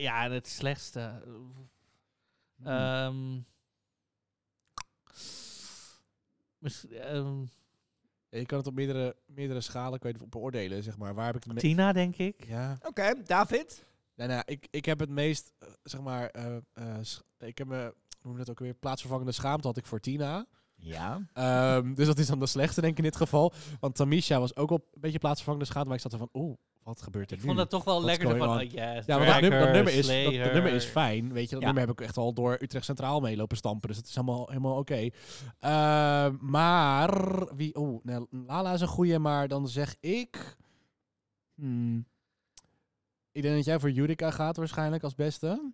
S1: ja, en het slechtste.
S4: Mhm.
S1: Ehm, mis- ehm,
S4: je kan het op meerdere, meerdere schalen kan je het beoordelen, zeg maar. Waar heb ik het me-
S1: Tina, denk ik.
S4: Ja.
S2: Oké, David.
S4: Nou, nou, ik, ik heb het meest, eh, zeg maar, eh, eh, sch- ik heb me, hoe noem je dat ook weer, plaatsvervangende schaamte had ik voor Tina.
S2: Ja.
S4: Ehm, dus dat is dan de slechte, denk ik, in dit geval. Want Tamisha was ook op een beetje plaatsvervangende schade, maar ik zat er van, oeh, wat gebeurt er
S1: Ik
S4: nu?
S1: vond dat toch wel
S4: What's
S1: lekkerder
S4: going
S1: van,
S4: on?
S1: oh yes,
S4: ja, want dat, nummer, dat
S1: Tracker,
S4: nummer is, dat, dat
S1: Slayer.
S4: nummer is fijn, weet je. Dat
S2: Ja.
S4: nummer heb ik echt al door Utrecht Centraal mee lopen stampen, dus dat is helemaal, helemaal oké. Ehm, maar, wie, oeh, nou, Lala is een goeie, maar dan zeg ik... hmm, ik denk dat jij voor Jurica gaat waarschijnlijk als beste.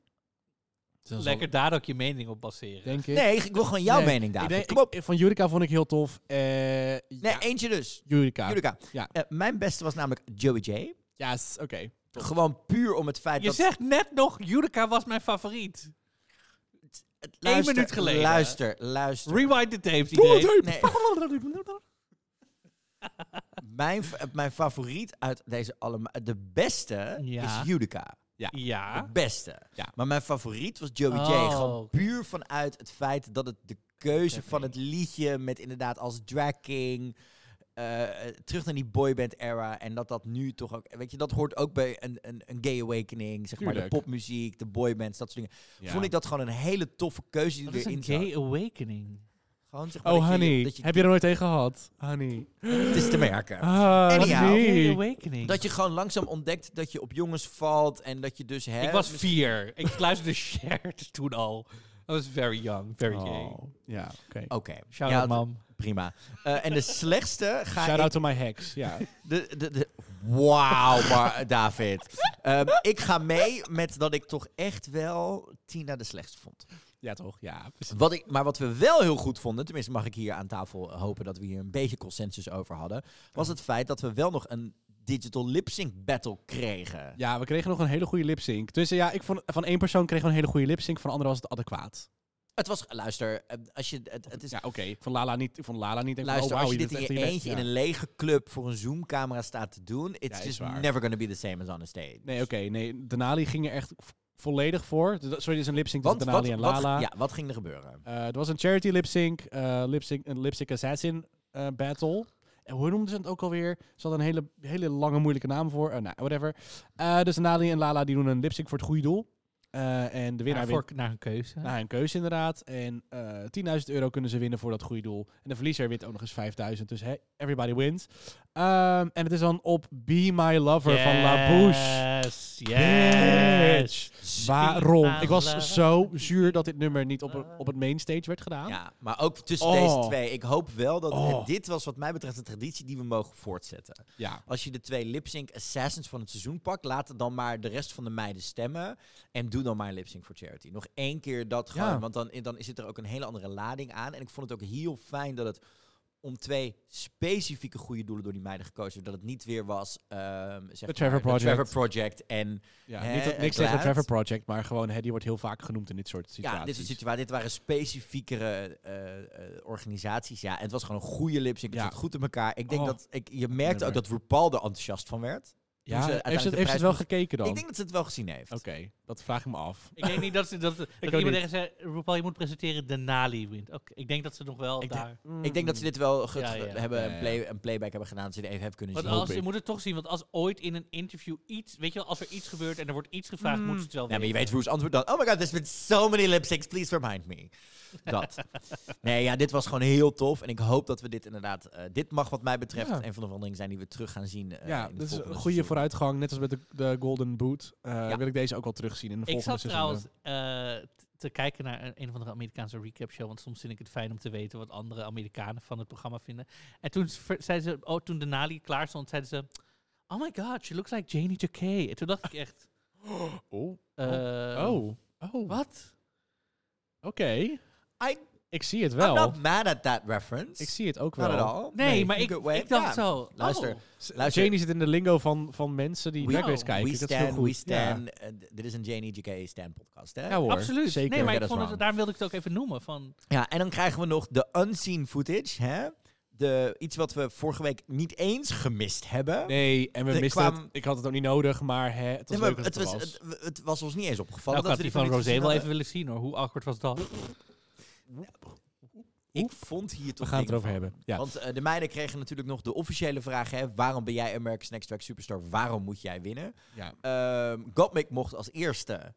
S4: Dus dan zal-
S1: Lekker daar ook je mening op baseren.
S4: Denk ik.
S2: Nee, ik wil gewoon jouw
S4: Nee,
S2: mening,
S4: Ik
S2: David.
S4: denk-
S2: Kom op.
S4: ik- van Jurica vond ik heel tof. Eh,
S2: Nee,
S4: ja,
S2: eentje dus.
S4: Jurica.
S1: Ah,
S2: Julika.
S4: Ja.
S2: Eh, mijn beste was namelijk Joey J.
S4: Ja, s- oké.
S2: Gewoon puur om het feit
S1: je
S2: dat...
S1: zegt net nog, Judica was mijn favoriet.
S2: het-
S1: één minuut geleden.
S2: Luister, luister.
S1: Rewind the tapes idee.
S2: Nee. mijn, fa- mijn favoriet uit deze allemaal... De beste
S1: Ja.
S2: is Judica.
S1: Ah? Ja.
S2: De beste.
S4: Ja.
S2: Maar mijn favoriet was Joey J.
S1: Oh,
S2: Gewoon
S1: oké.
S2: puur vanuit het feit dat het de keuze van het liedje... met inderdaad als drag king... eh, terug naar die boyband era. En dat dat nu toch ook... Weet je, dat hoort ook bij een, een, een gay awakening. Zeg maar de
S4: Tuurlijk.
S2: popmuziek, de boybands, dat soort dingen.
S4: Ja.
S2: Vond ik dat gewoon een hele toffe keuze die
S1: Dat is
S2: erin
S1: een
S2: zat.
S1: gay awakening.
S2: Gewoon, zeg maar,
S4: Oh,
S2: dat je-
S4: honey.
S2: dat je-
S4: Heb je er nooit tegen gehad? Honey.
S2: het is te
S1: Ah,
S2: merken. Anyhow.
S1: Gay
S4: honey.
S1: awakening.
S2: Dat je gewoon langzaam ontdekt dat je op jongens valt en dat je dus... Hè,
S1: ik was
S2: misschien-
S1: vier. Ik luisterde Shared toen al. I was very young, very gay.
S4: Oh, ja, oké.
S2: Oké.
S1: Shout
S2: Ja,
S1: out, mam.
S2: Prima. Eh, en de slechtste ga
S4: Shout
S2: ik...
S4: out to my hacks. Ja.
S2: De, de, de, Wauw, maar eh, David. Ehm, ik ga mee met dat ik toch echt wel Tina de slechtste vond.
S4: ja, toch? Ja. precies.
S2: Wat ik, maar wat we wel heel goed vonden, tenminste mag ik hier aan tafel eh, hopen dat we hier een beetje consensus over hadden, was het feit dat we wel nog een digital lip sync battle kregen.
S4: Ja, we kregen nog een hele goede lip sync. Dus eh, ja, ik vond van één persoon kregen we een hele goede lip sync, van de andere was het adequaat.
S2: Het was, luister, eh, als je, het, het is,
S4: Ja, oké. Van Lala niet. Van Lala niet. denk van,
S2: luister,
S4: oh,
S2: als
S4: wauw,
S2: je dit
S4: doet
S2: in je
S4: echt best.
S2: eentje
S4: Ja.
S2: in een lege club voor een zoomcamera staat te doen, it's
S4: is
S2: just
S4: waar.
S2: never gonna be the same as on a stage.
S4: Nee, oké. nee, Denali ging er echt v- volledig voor. Dus dat- Sorry, dit is een lip sync
S2: Want
S4: tussen Denali
S2: wat,
S4: en
S2: wat,
S4: Lala.
S2: ja, wat ging er gebeuren?
S4: Eh, er was een charity lip sync, eh, lip sync een lip sync assassin eh, battle. En hoe noemden ze het ook alweer? Ze hadden een hele, hele lange moeilijke naam voor. Eh, nou, whatever. Eh, dus Nadine en Lala die doen een lip sync voor het goede doel. Eh, en de winnaar
S1: Naar, voor,
S4: wint
S1: naar een keuze.
S4: na hun keuze inderdaad. En eh 10.000 euro kunnen ze winnen voor dat goede doel. En de verliezer wint ook nog eens 5.000. Dus hey, everybody wins. Ehm, en het is dan op Be My Lover van La Bouche.
S1: Yes, yes.
S4: Bitch. Waarom?
S1: Spina
S4: Ik was zo zuur dat dit nummer niet op, op het mainstage werd gedaan.
S2: Ja, maar ook tussen
S4: Oh.
S2: deze twee. Ik hoop wel dat
S4: Oh.
S2: dit was wat mij betreft een traditie die we mogen voortzetten.
S4: Ja.
S2: Als je de twee lip-sync assassins van het seizoen pakt, laat dan maar de rest van de meiden stemmen. En doe dan maar lip-sync for charity. Nog één keer dat gewoon,
S4: Ja.
S2: want dan, dan zit er ook een hele andere lading aan. En ik vond het ook heel fijn dat het om twee specifieke goede doelen door die meiden gekozen werd. Dat het niet weer was, ehm zeg
S4: The Trevor
S2: maar, de Trevor
S4: Project.
S2: Project en
S4: Ja,
S2: hè,
S4: niet dat,
S2: en
S4: niks tegen het
S2: Cloud.
S4: Trevor Project, maar gewoon, hè, die wordt heel vaak genoemd in dit soort situaties.
S2: Ja, dit soort situaties. Dit waren specifiekere eh, eh, organisaties. Ja, en het was gewoon een goede lipsync. Het
S4: Ja.
S2: zat goed in elkaar. Ik denk
S4: Oh.
S2: dat ik, je merkte ook
S4: Nummer.
S2: dat RuPaul er enthousiast van werd.
S4: Ja,
S2: Toen ze
S4: heeft ze,
S2: uiteindelijk
S4: heeft
S2: de
S4: ze
S2: prijs
S4: het wel
S2: moest-
S4: gekeken dan?
S2: Ik denk dat ze het wel gezien heeft.
S4: Oké, dat vraag ik me af.
S1: Ik denk niet dat, ze, dat, dat
S4: ook
S1: iemand
S4: niet.
S1: ergens zei, RuPaul, je moet presenteren, de Nali wint. Oké, ik denk dat ze nog wel
S2: Ik denk-
S1: daar...
S2: Ik denk dat ze dit wel ge-
S1: Ja, ja, ja.
S2: hebben,
S4: Ja,
S2: een
S4: ja.
S2: play- een playback hebben gedaan. Dat ze dit even hebben kunnen
S1: Want
S2: zien.
S1: als,
S4: ik.
S1: je moet het toch zien, want als ooit in een interview iets... Weet je wel, als er iets gebeurt en er wordt iets gevraagd, moet ze het wel
S2: Mm. Ja, maar je
S1: weten.
S2: weet Roos antwoord dan. Oh my god, there's been so many lipsticks. Please remind me. Dat. nee, ja, dit was gewoon heel tof. En ik hoop dat we dit inderdaad... eh, dit mag wat mij betreft
S4: Ja.
S2: een van de veranderingen zijn die we terug gaan zien. eh,
S4: ja,
S2: in
S4: dat is een goede
S2: vooruit.
S4: vooruitgang. Net als met de, de Golden Boot eh, wil ik deze ook wel terugzien in de
S1: Ik
S4: volgende
S1: zat
S4: seizoenen.
S1: trouwens eh, t- te kijken naar een, een of andere Amerikaanse recap show. Want soms vind ik het fijn om te weten wat andere Amerikanen van het programma vinden. En toen ver- zeiden ze, oh, toen Denali klaar stond, zeiden ze. Oh my god, she looks like Janie Jacquet. En toen dacht ik echt.
S4: Oh,
S1: eh,
S4: oh, oh. Oké,
S1: Wat?
S2: I
S4: ik zie het
S2: I'm
S4: wel.
S2: not mad at that reference.
S4: Ik zie het ook wel.
S2: Not at all.
S1: Nee, maar ik,
S2: Good way.
S1: ik dacht
S2: Ja.
S1: zo.
S2: Luister,
S1: oh.
S4: S-
S2: Luister.
S4: Janie zit in de lingo van, van mensen die
S1: We-
S4: Drag Race
S1: Oh.
S4: kijken.
S2: we
S4: dat is heel
S2: stand,
S4: goed.
S2: we stand. Eh, d- dit is een Janie J.K. stand podcast, hè?
S4: Ja, ja hoor,
S1: Absoluut.
S4: Zeker.
S1: Nee, maar
S2: Get
S1: ik
S2: us
S1: vond het,
S2: wrong.
S1: daarom wilde ik het ook even noemen. Van,
S2: Ja, en dan krijgen we nog de unseen footage, hè? De, iets wat we vorige week niet eens gemist hebben.
S4: Nee, en we
S2: Er
S4: misten
S2: kwam-
S4: het. Ik had het ook niet nodig, maar hè, het was
S2: Nee, maar
S4: leuk dat
S2: het, was,
S4: er
S2: het, het was ons niet eens opgevallen.
S1: nou, ik
S2: dat
S1: had
S2: we
S1: die
S2: dit nog
S1: van
S2: niet
S1: Rosé wel
S2: gezien
S1: even willen zien hoor. Hoe awkward was dat?
S2: hadden. Ik vond hier
S4: We
S2: toch
S4: gaan het
S2: dingen
S4: erover
S2: van.
S4: hebben. Ja.
S2: Want eh, de meiden kregen natuurlijk nog de officiële vraag, hè? Waarom ben jij America's Next Track Superstar? Waarom moet jij winnen?
S4: ja.
S2: Ehm Gottmik mocht als eerste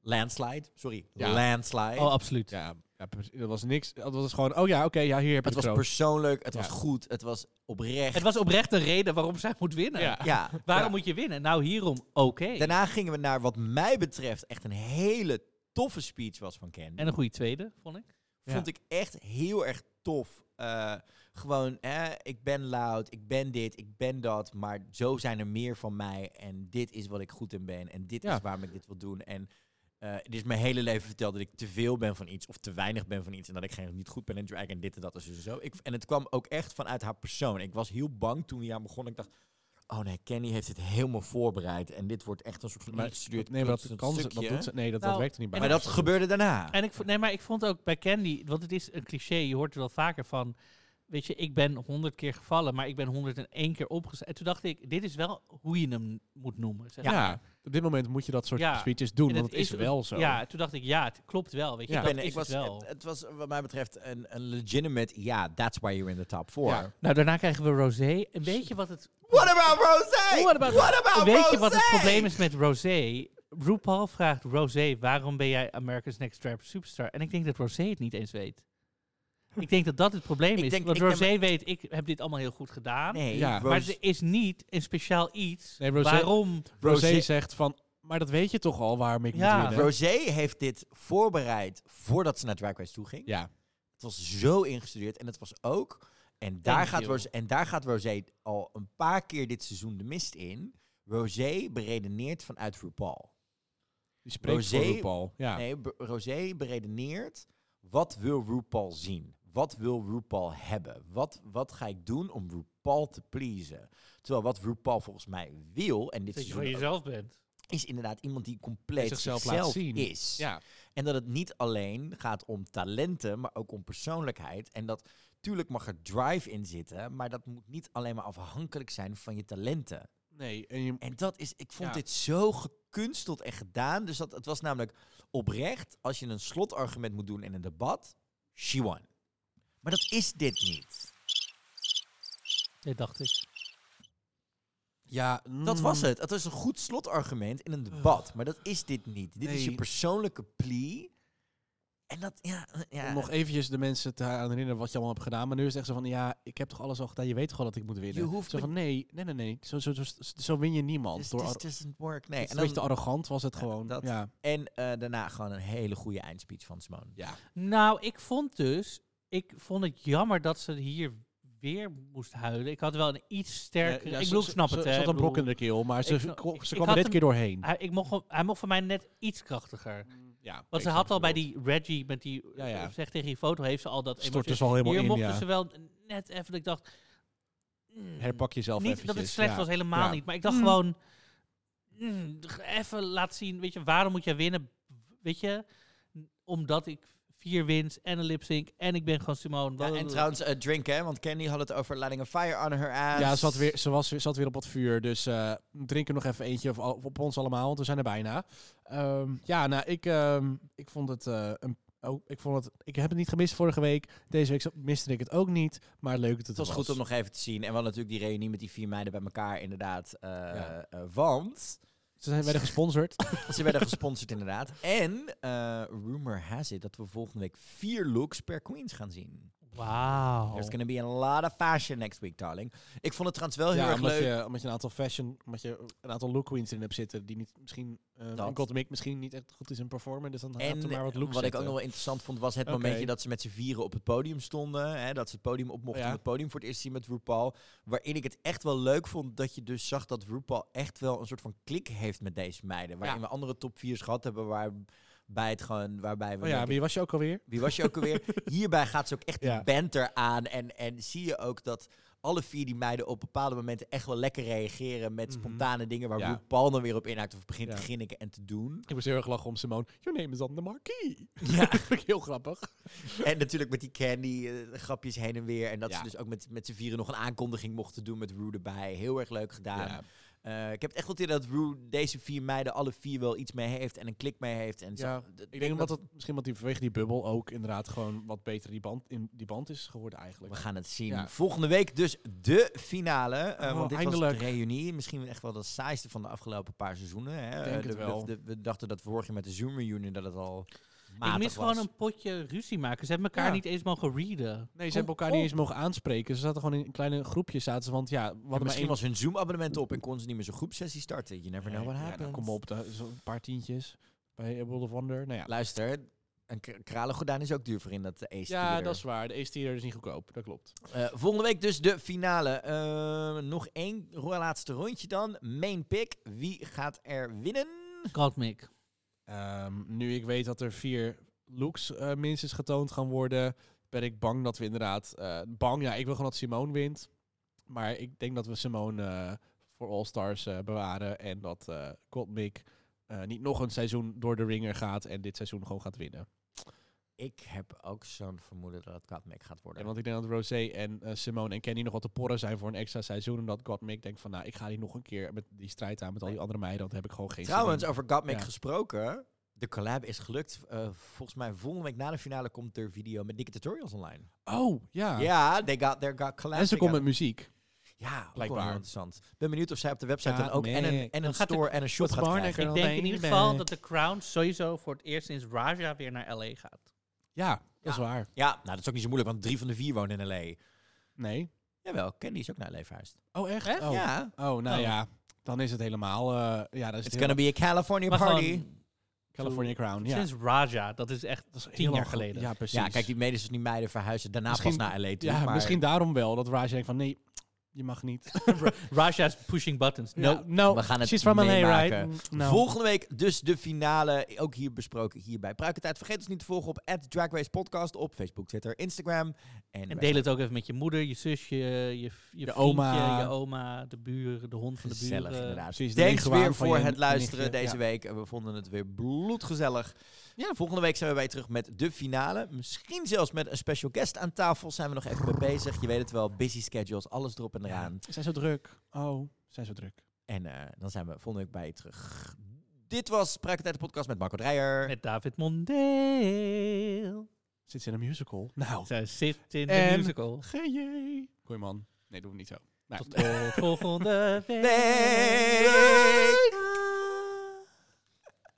S2: landslide. Sorry,
S4: Ja.
S2: landslide.
S1: Oh, absoluut.
S4: Ja, ja, precies. dat was niks. Dat was gewoon, oh ja, oké, ja, hier heb je
S2: Het
S4: het
S2: was
S4: kroon.
S2: persoonlijk, het was
S4: Ja.
S2: goed, het was oprecht.
S1: Het was oprecht een reden waarom zij moet winnen.
S4: Ja.
S2: ja.
S1: Waarom
S4: Ja.
S1: moet je winnen? Nou, hierom. Oké.
S2: Daarna gingen we naar wat mij betreft echt een hele toffe speech was van Ken.
S1: En een goede tweede, vond ik.
S2: Vond ik echt heel erg tof. Eh, gewoon, eh, ik ben loud, ik ben dit, ik ben dat, maar zo zijn er meer van mij en dit is wat ik goed in ben en dit
S4: Ja.
S2: is waarom ik dit wil doen. En eh, het is mijn hele leven verteld dat ik te veel ben van iets of te weinig ben van iets en dat ik geen, niet goed ben in drag en dit en dat en zo. en zo. Ik, en het kwam ook echt vanuit haar persoon. Ik was heel bang toen we aan begon. Ik dacht, oh nee, Kenny heeft dit helemaal voorbereid en dit wordt echt een soort van
S4: Maar-
S2: ingestudeerd
S4: nee, maar dat,
S2: kunst-
S4: kan ze, dat
S2: stukje.
S4: doet ze. Nee, dat,
S1: Nou,
S4: dat werkt er niet bij.
S2: Maar dat gebeurde daarna.
S1: En ik vo- nee, maar ik vond ook bij Candy, want het is een cliché, je hoort er wel vaker van. Weet je, ik ben honderd keer gevallen, maar ik ben 101 keer opgestaan. En toen dacht ik, dit is wel hoe je hem moet noemen. Zeg
S4: Ja.
S1: maar.
S4: op dit moment moet je dat soort
S1: Ja.
S4: speeches
S1: En
S4: doen, want het is
S1: een-
S4: wel zo.
S1: Ja, toen dacht ik, ja, het klopt wel. Weet je,
S4: Ja.
S1: dat
S2: Ik ben-
S1: is
S2: ik was,
S1: het wel.
S2: het, het was wat mij betreft een, een legitimate, ja, that's why you're in the top four.
S4: Ja.
S1: nou, daarna krijgen we Rosé. En weet je wat het...
S2: What about Rosé?
S1: What about-
S2: What about
S1: weet
S2: Rosé?
S1: je wat het probleem is met Rosé? RuPaul vraagt Rosé, waarom ben jij America's Next Trap Superstar? En ik denk dat Rosé het niet eens weet. Ik denk dat dat het probleem
S2: Ik
S1: is.
S2: denk-
S1: want
S2: ik denk-
S1: Rosé weet, ik heb dit allemaal heel goed gedaan.
S2: Nee,
S4: Ja.
S2: Ros-
S1: Maar er is niet een speciaal iets
S4: Nee, Rosé-
S1: waarom...
S4: Rosé
S2: Rosé-
S4: zegt van, maar dat weet je toch al waarom ik
S1: Ja.
S4: moet winnen.
S2: Rosé heeft dit voorbereid voordat ze naar Drag Race toe ging.
S4: Ja,
S2: Het was zo ingestudeerd en het was ook... En daar,
S1: Thank
S2: gaat
S1: you.
S2: Rosé, en daar gaat Rosé al een paar keer dit seizoen de mist in. Rosé beredeneert vanuit RuPaul.
S4: die spreekt
S2: Rosé-
S4: voor RuPaul. Ja.
S2: Nee, B- Rosé beredeneert. Wat wil RuPaul zien? Wat wil RuPaul hebben? Wat, wat ga ik doen om RuPaul te pleasen? Terwijl wat RuPaul volgens mij wil, en dit
S1: Dat je
S2: seizoen
S1: voor
S2: ook,
S1: jezelf bent.
S2: is inderdaad iemand die compleet zichzelf,
S4: zichzelf laat zien.
S2: is.
S4: Ja.
S2: En dat het niet alleen gaat om talenten, maar ook om persoonlijkheid. En dat, tuurlijk mag er drive in zitten, maar dat moet niet alleen maar afhankelijk zijn van je talenten.
S4: Nee, en je,
S2: En dat is, ik vond
S4: Ja.
S2: dit zo gekunsteld en gedaan. Dus dat, het was namelijk oprecht, als je een slotargument moet doen in een debat, she won. Maar dat is dit niet.
S1: Dat dacht ik.
S4: ja
S2: Dat
S4: Mm.
S2: was het. Het was een goed
S4: Oh.
S2: slotargument in een debat, maar dat is dit niet. Dit is je
S4: Nee.
S2: persoonlijke plea En dat, ja... eh, ja dus
S4: Om nog eventjes de mensen te herinneren wat je allemaal hebt gedaan. Maar nu is het echt zo van, ja, ik heb toch alles al gedaan. Je weet toch al dat ik moet winnen.
S2: Je hoeft
S4: zo
S2: me-
S4: van, nee, nee, nee, nee. Zo, zo, zo, zo win je niemand.
S2: This,
S4: door
S2: this
S4: arro-
S2: doesn't work. Nee.
S4: het Dus is
S2: En,
S4: een beetje te
S2: dan,
S4: arrogant was het gewoon.
S2: dat-
S4: Ja.
S2: en eh, daarna gewoon een hele goede eindspeech van Simone.
S4: ja.
S1: Nou, ik vond dus... Ik vond het jammer dat ze hier weer moest huilen. Ik had wel een iets sterker... ik bedoel, ik snap het,
S4: Ze
S1: hè.
S4: zat
S1: ik
S4: een
S1: bedoel,
S4: brok in de keel, maar ze,
S1: Ik snap-
S4: ko-
S1: ik-
S4: ze
S1: ik
S4: kwam er
S1: had
S4: dit
S1: hem-
S4: keer doorheen.
S1: hij, ik mocht, hij mocht voor mij net iets krachtiger.
S4: Ja,
S1: Want ze had al bij die Reggie, met die
S4: Ja, ja.
S1: zeg tegen die foto, heeft ze al dat
S4: Stort
S1: emotie-
S4: dus al helemaal
S1: Hier
S4: in,
S1: mochten
S4: ja.
S1: ze wel net even, dat ik dacht... mm,
S4: Herpak jezelf
S1: Niet
S4: eventjes.
S1: dat het slecht
S4: ja.
S1: was, helemaal
S4: Ja.
S1: niet. Maar ik dacht gewoon... mm, g- even laten zien, weet je, waarom moet jij winnen? Weet je, omdat ik vier wins en een lipsync en ik ben gewoon Simone.
S2: Ja, en
S1: blablabla.
S2: trouwens, eh, drink, hè? Want Candy had het over lighting a fire on her ass.
S4: Ja, ze, had weer, ze, was, ze zat weer op het vuur. Dus eh drink er nog even eentje op, op ons allemaal, want we zijn er bijna. Ehm, ja, nou, ik, ehm, ik vond het... eh, een, oh, ik, vond het, ik heb het niet gemist vorige week. Deze week miste ik het ook niet. Maar leuk dat het
S2: Het was
S4: er
S2: goed om nog even te zien. En we hadden natuurlijk die reunie met die vier meiden bij elkaar, inderdaad. eh,
S4: Ja.
S2: eh, want
S4: Ze zijn werden gesponsord.
S2: ze werden gesponsord, inderdaad. En eh, rumor has it dat we volgende week vier looks per queens gaan zien.
S1: Wauw.
S4: Oh.
S2: There's gonna be a lot of fashion next week, darling. Ik vond het trouwens wel heel
S4: ja,
S2: erg
S4: omdat
S2: leuk.
S4: je, omdat je een aantal fashion, omdat je een aantal look queens in hebt zitten die niet misschien eh
S2: Dat.
S4: en Gold Mick misschien niet echt goed is in performen, dus dan gaat er
S2: En
S4: maar wat
S2: wat,
S4: looks
S2: ik ook nog
S4: zetten.
S2: wel interessant vond, was het
S4: Oké.
S2: momentje dat ze met z'n vieren op het podium stonden. Hè, dat ze het podium op mochten
S4: Ja.
S2: om het podium voor het eerst te zien met RuPaul. Waarin ik het echt wel leuk vond dat je dus zag dat RuPaul echt wel een soort van klik heeft met deze meiden. Waarin
S4: Ja.
S2: we andere top 4's gehad hebben waarbij het gewoon, waarbij we...
S4: Oh ja,
S2: denken,
S4: wie was je ook alweer?
S2: wie was je ook alweer? Hierbij gaat ze ook echt
S4: Ja.
S2: die banter aan. En, en zie je ook dat alle vier die meiden op bepaalde momenten echt wel lekker reageren met spontane dingen waar
S4: Mhm. Ja.
S2: RuPaul dan weer op inhaakt of begint
S4: Ja.
S2: te ginniken en te doen.
S4: Ik moest heel erg lachen om Simone. Your name is on the marquee.
S2: Ja.
S4: Dat vind ik heel grappig.
S2: En natuurlijk met die candy, eh, grapjes heen en weer. En dat
S4: Ja.
S2: ze dus ook met, met z'n vieren nog een aankondiging mochten doen met Rue erbij. Heel erg leuk gedaan.
S4: Ja.
S2: Eh, ik heb het echt wel het idee dat Rue deze vier meiden alle vier wel iets mee heeft en een klik mee heeft. En zo.
S4: Ja,
S2: D-
S4: ik denk omdat het misschien wat die, vanwege die bubbel ook inderdaad gewoon wat beter die band, in die band is geworden eigenlijk.
S2: We gaan het zien.
S4: Ja.
S2: Volgende week dus de finale. Eh,
S4: Oh,
S2: want dit
S4: eindelijk.
S2: was de reunie. Misschien echt wel de saaiste van de afgelopen paar seizoenen. Hè?
S4: denk
S2: Eh,
S4: het
S2: de- de-
S4: wel.
S2: de- we dachten dat vorig jaar met de Zoom reunion dat het al matig
S1: Ik mis
S2: was.
S1: gewoon een potje ruzie maken. Ze hebben elkaar
S4: Ja.
S1: niet eens mogen readen.
S4: Nee, ze hebben elkaar niet eens mogen aanspreken. Ze zaten gewoon in kleine groepjes zaten ze, want ja, wat
S2: Maar misschien was hun Zoom-abonnement op en kon ze niet meer zo'n groepsessie starten. You never know what happens.
S4: nou, kom op, daar is een paar tientjes bij World of Wonder. Nou ja,
S2: Luister, een k- kralengordijn is ook duur voor in dat ace
S4: Ja,
S2: theater.
S4: dat is waar. De Ace Theater is niet goedkoop. Dat klopt.
S2: Eh, volgende week dus de finale. Eh, nog één ro- laatste rondje dan. Main pick. Wie gaat er winnen?
S1: Goldmick.
S4: Ehm, nu ik weet dat er vier looks eh, minstens getoond gaan worden, ben ik bang dat we inderdaad... eh, bang, ja, ik wil gewoon dat Simone wint. Maar ik denk dat we Simone eh, voor All-Stars eh, bewaren. En dat eh Gottmik eh, niet nog een seizoen door de ringer gaat en dit seizoen gewoon gaat winnen.
S2: Ik heb ook zo'n vermoeden dat het Katmek gaat worden.
S4: En want ik denk dat Rosé en eh, Simone en Kenny nog wat te porren zijn voor een extra seizoen. En dat Gottmik denkt van, nou, ik ga die nog een keer met die strijd aan met al die andere meiden. Want dan heb ik gewoon geen zin
S2: Trouwens,
S4: in.
S2: over Gottmik
S4: Ja.
S2: gesproken. De collab is gelukt. Eh, volgens mij volgende week na de finale komt er video met dikke tutorials online.
S4: Oh,
S2: Ja,
S4: ja.
S2: they got their got collab.
S4: En ze
S2: they
S4: komt
S2: got-
S4: met muziek.
S2: Ja, ook wel
S4: Blijkbaar.
S2: heel interessant. Ben benieuwd of zij op de website
S4: Ja,
S2: dan ook en
S4: nee.
S2: een, en een
S1: gaat de-
S2: store en een shop
S4: Wat
S2: gaat
S4: Barnacle.
S2: krijgen.
S1: Ik
S4: Girl,
S1: denk in
S4: baby,
S1: ieder geval
S4: baby.
S1: dat de Crown sowieso voor het eerst sinds Raja weer naar L.A. gaat.
S4: Ja, dat is waar.
S2: Ja, nou dat is ook niet zo moeilijk, want drie van de vier wonen in L.A.
S4: Nee.
S2: Jawel, Candy is ook naar L.A. verhuisd.
S4: Oh, echt?
S1: Echt?
S4: Oh.
S2: Ja.
S4: Oh, nou
S1: Oh.
S4: ja. Dan is het helemaal... eh ja, dat is
S2: It's
S4: het
S2: gonna be a California
S1: Maar
S2: party.
S1: gewoon,
S4: California Crown. Ja.
S1: Sinds Raja, dat is echt
S4: is heel
S1: tien jaar
S4: lang ge-
S1: geleden.
S4: Ja, precies.
S2: ja, kijk, die medes dus die meiden verhuizen daarna
S4: Misschien-
S2: pas naar L.A. toe.
S4: Ja,
S2: maar
S4: misschien daarom wel. Dat Raj denkt van, nee, je mag niet.
S1: Raja is pushing buttons. No.
S4: Ja, no,
S2: we gaan het
S4: she's from LA,
S2: meemaken.
S4: right? Mm, No.
S2: Volgende week dus de finale. Ook hier besproken hier bij Pruikentijd. Vergeet ons niet te volgen op Drag Race Podcast op Facebook, Twitter, Instagram. En,
S1: En deel het ook even met je moeder, je zusje, je, je, vriendje,
S4: oma.
S1: je oma, de buren, de hond van de buren.
S2: Gezellig, inderdaad.
S4: Precies, de
S2: Thanks
S4: negenwaan
S2: weer
S4: van
S2: voor
S4: je
S2: het luisteren
S4: nichtje.
S2: deze
S4: Ja.
S2: week. En We vonden het weer bloedgezellig. Ja. Volgende week zijn we weer terug met de finale. Misschien zelfs met een special guest aan tafel. Zijn we nog even mee bezig. Je weet het wel, busy schedules, alles erop en eraan.
S4: Ze zijn zo druk. Oh, ze zijn zo druk.
S2: En eh, dan zijn we volgende week bij je terug. Dit was Pruikentijd de podcast met Marco Dreyer.
S1: Met David Mondeel.
S4: Zit ze in een musical? Nou.
S1: Zij zit in de
S4: En-
S1: musical.
S4: Goeie. Goeie man. Nee, doen we niet zo. Nou,
S1: Tot volgende week.
S2: Week.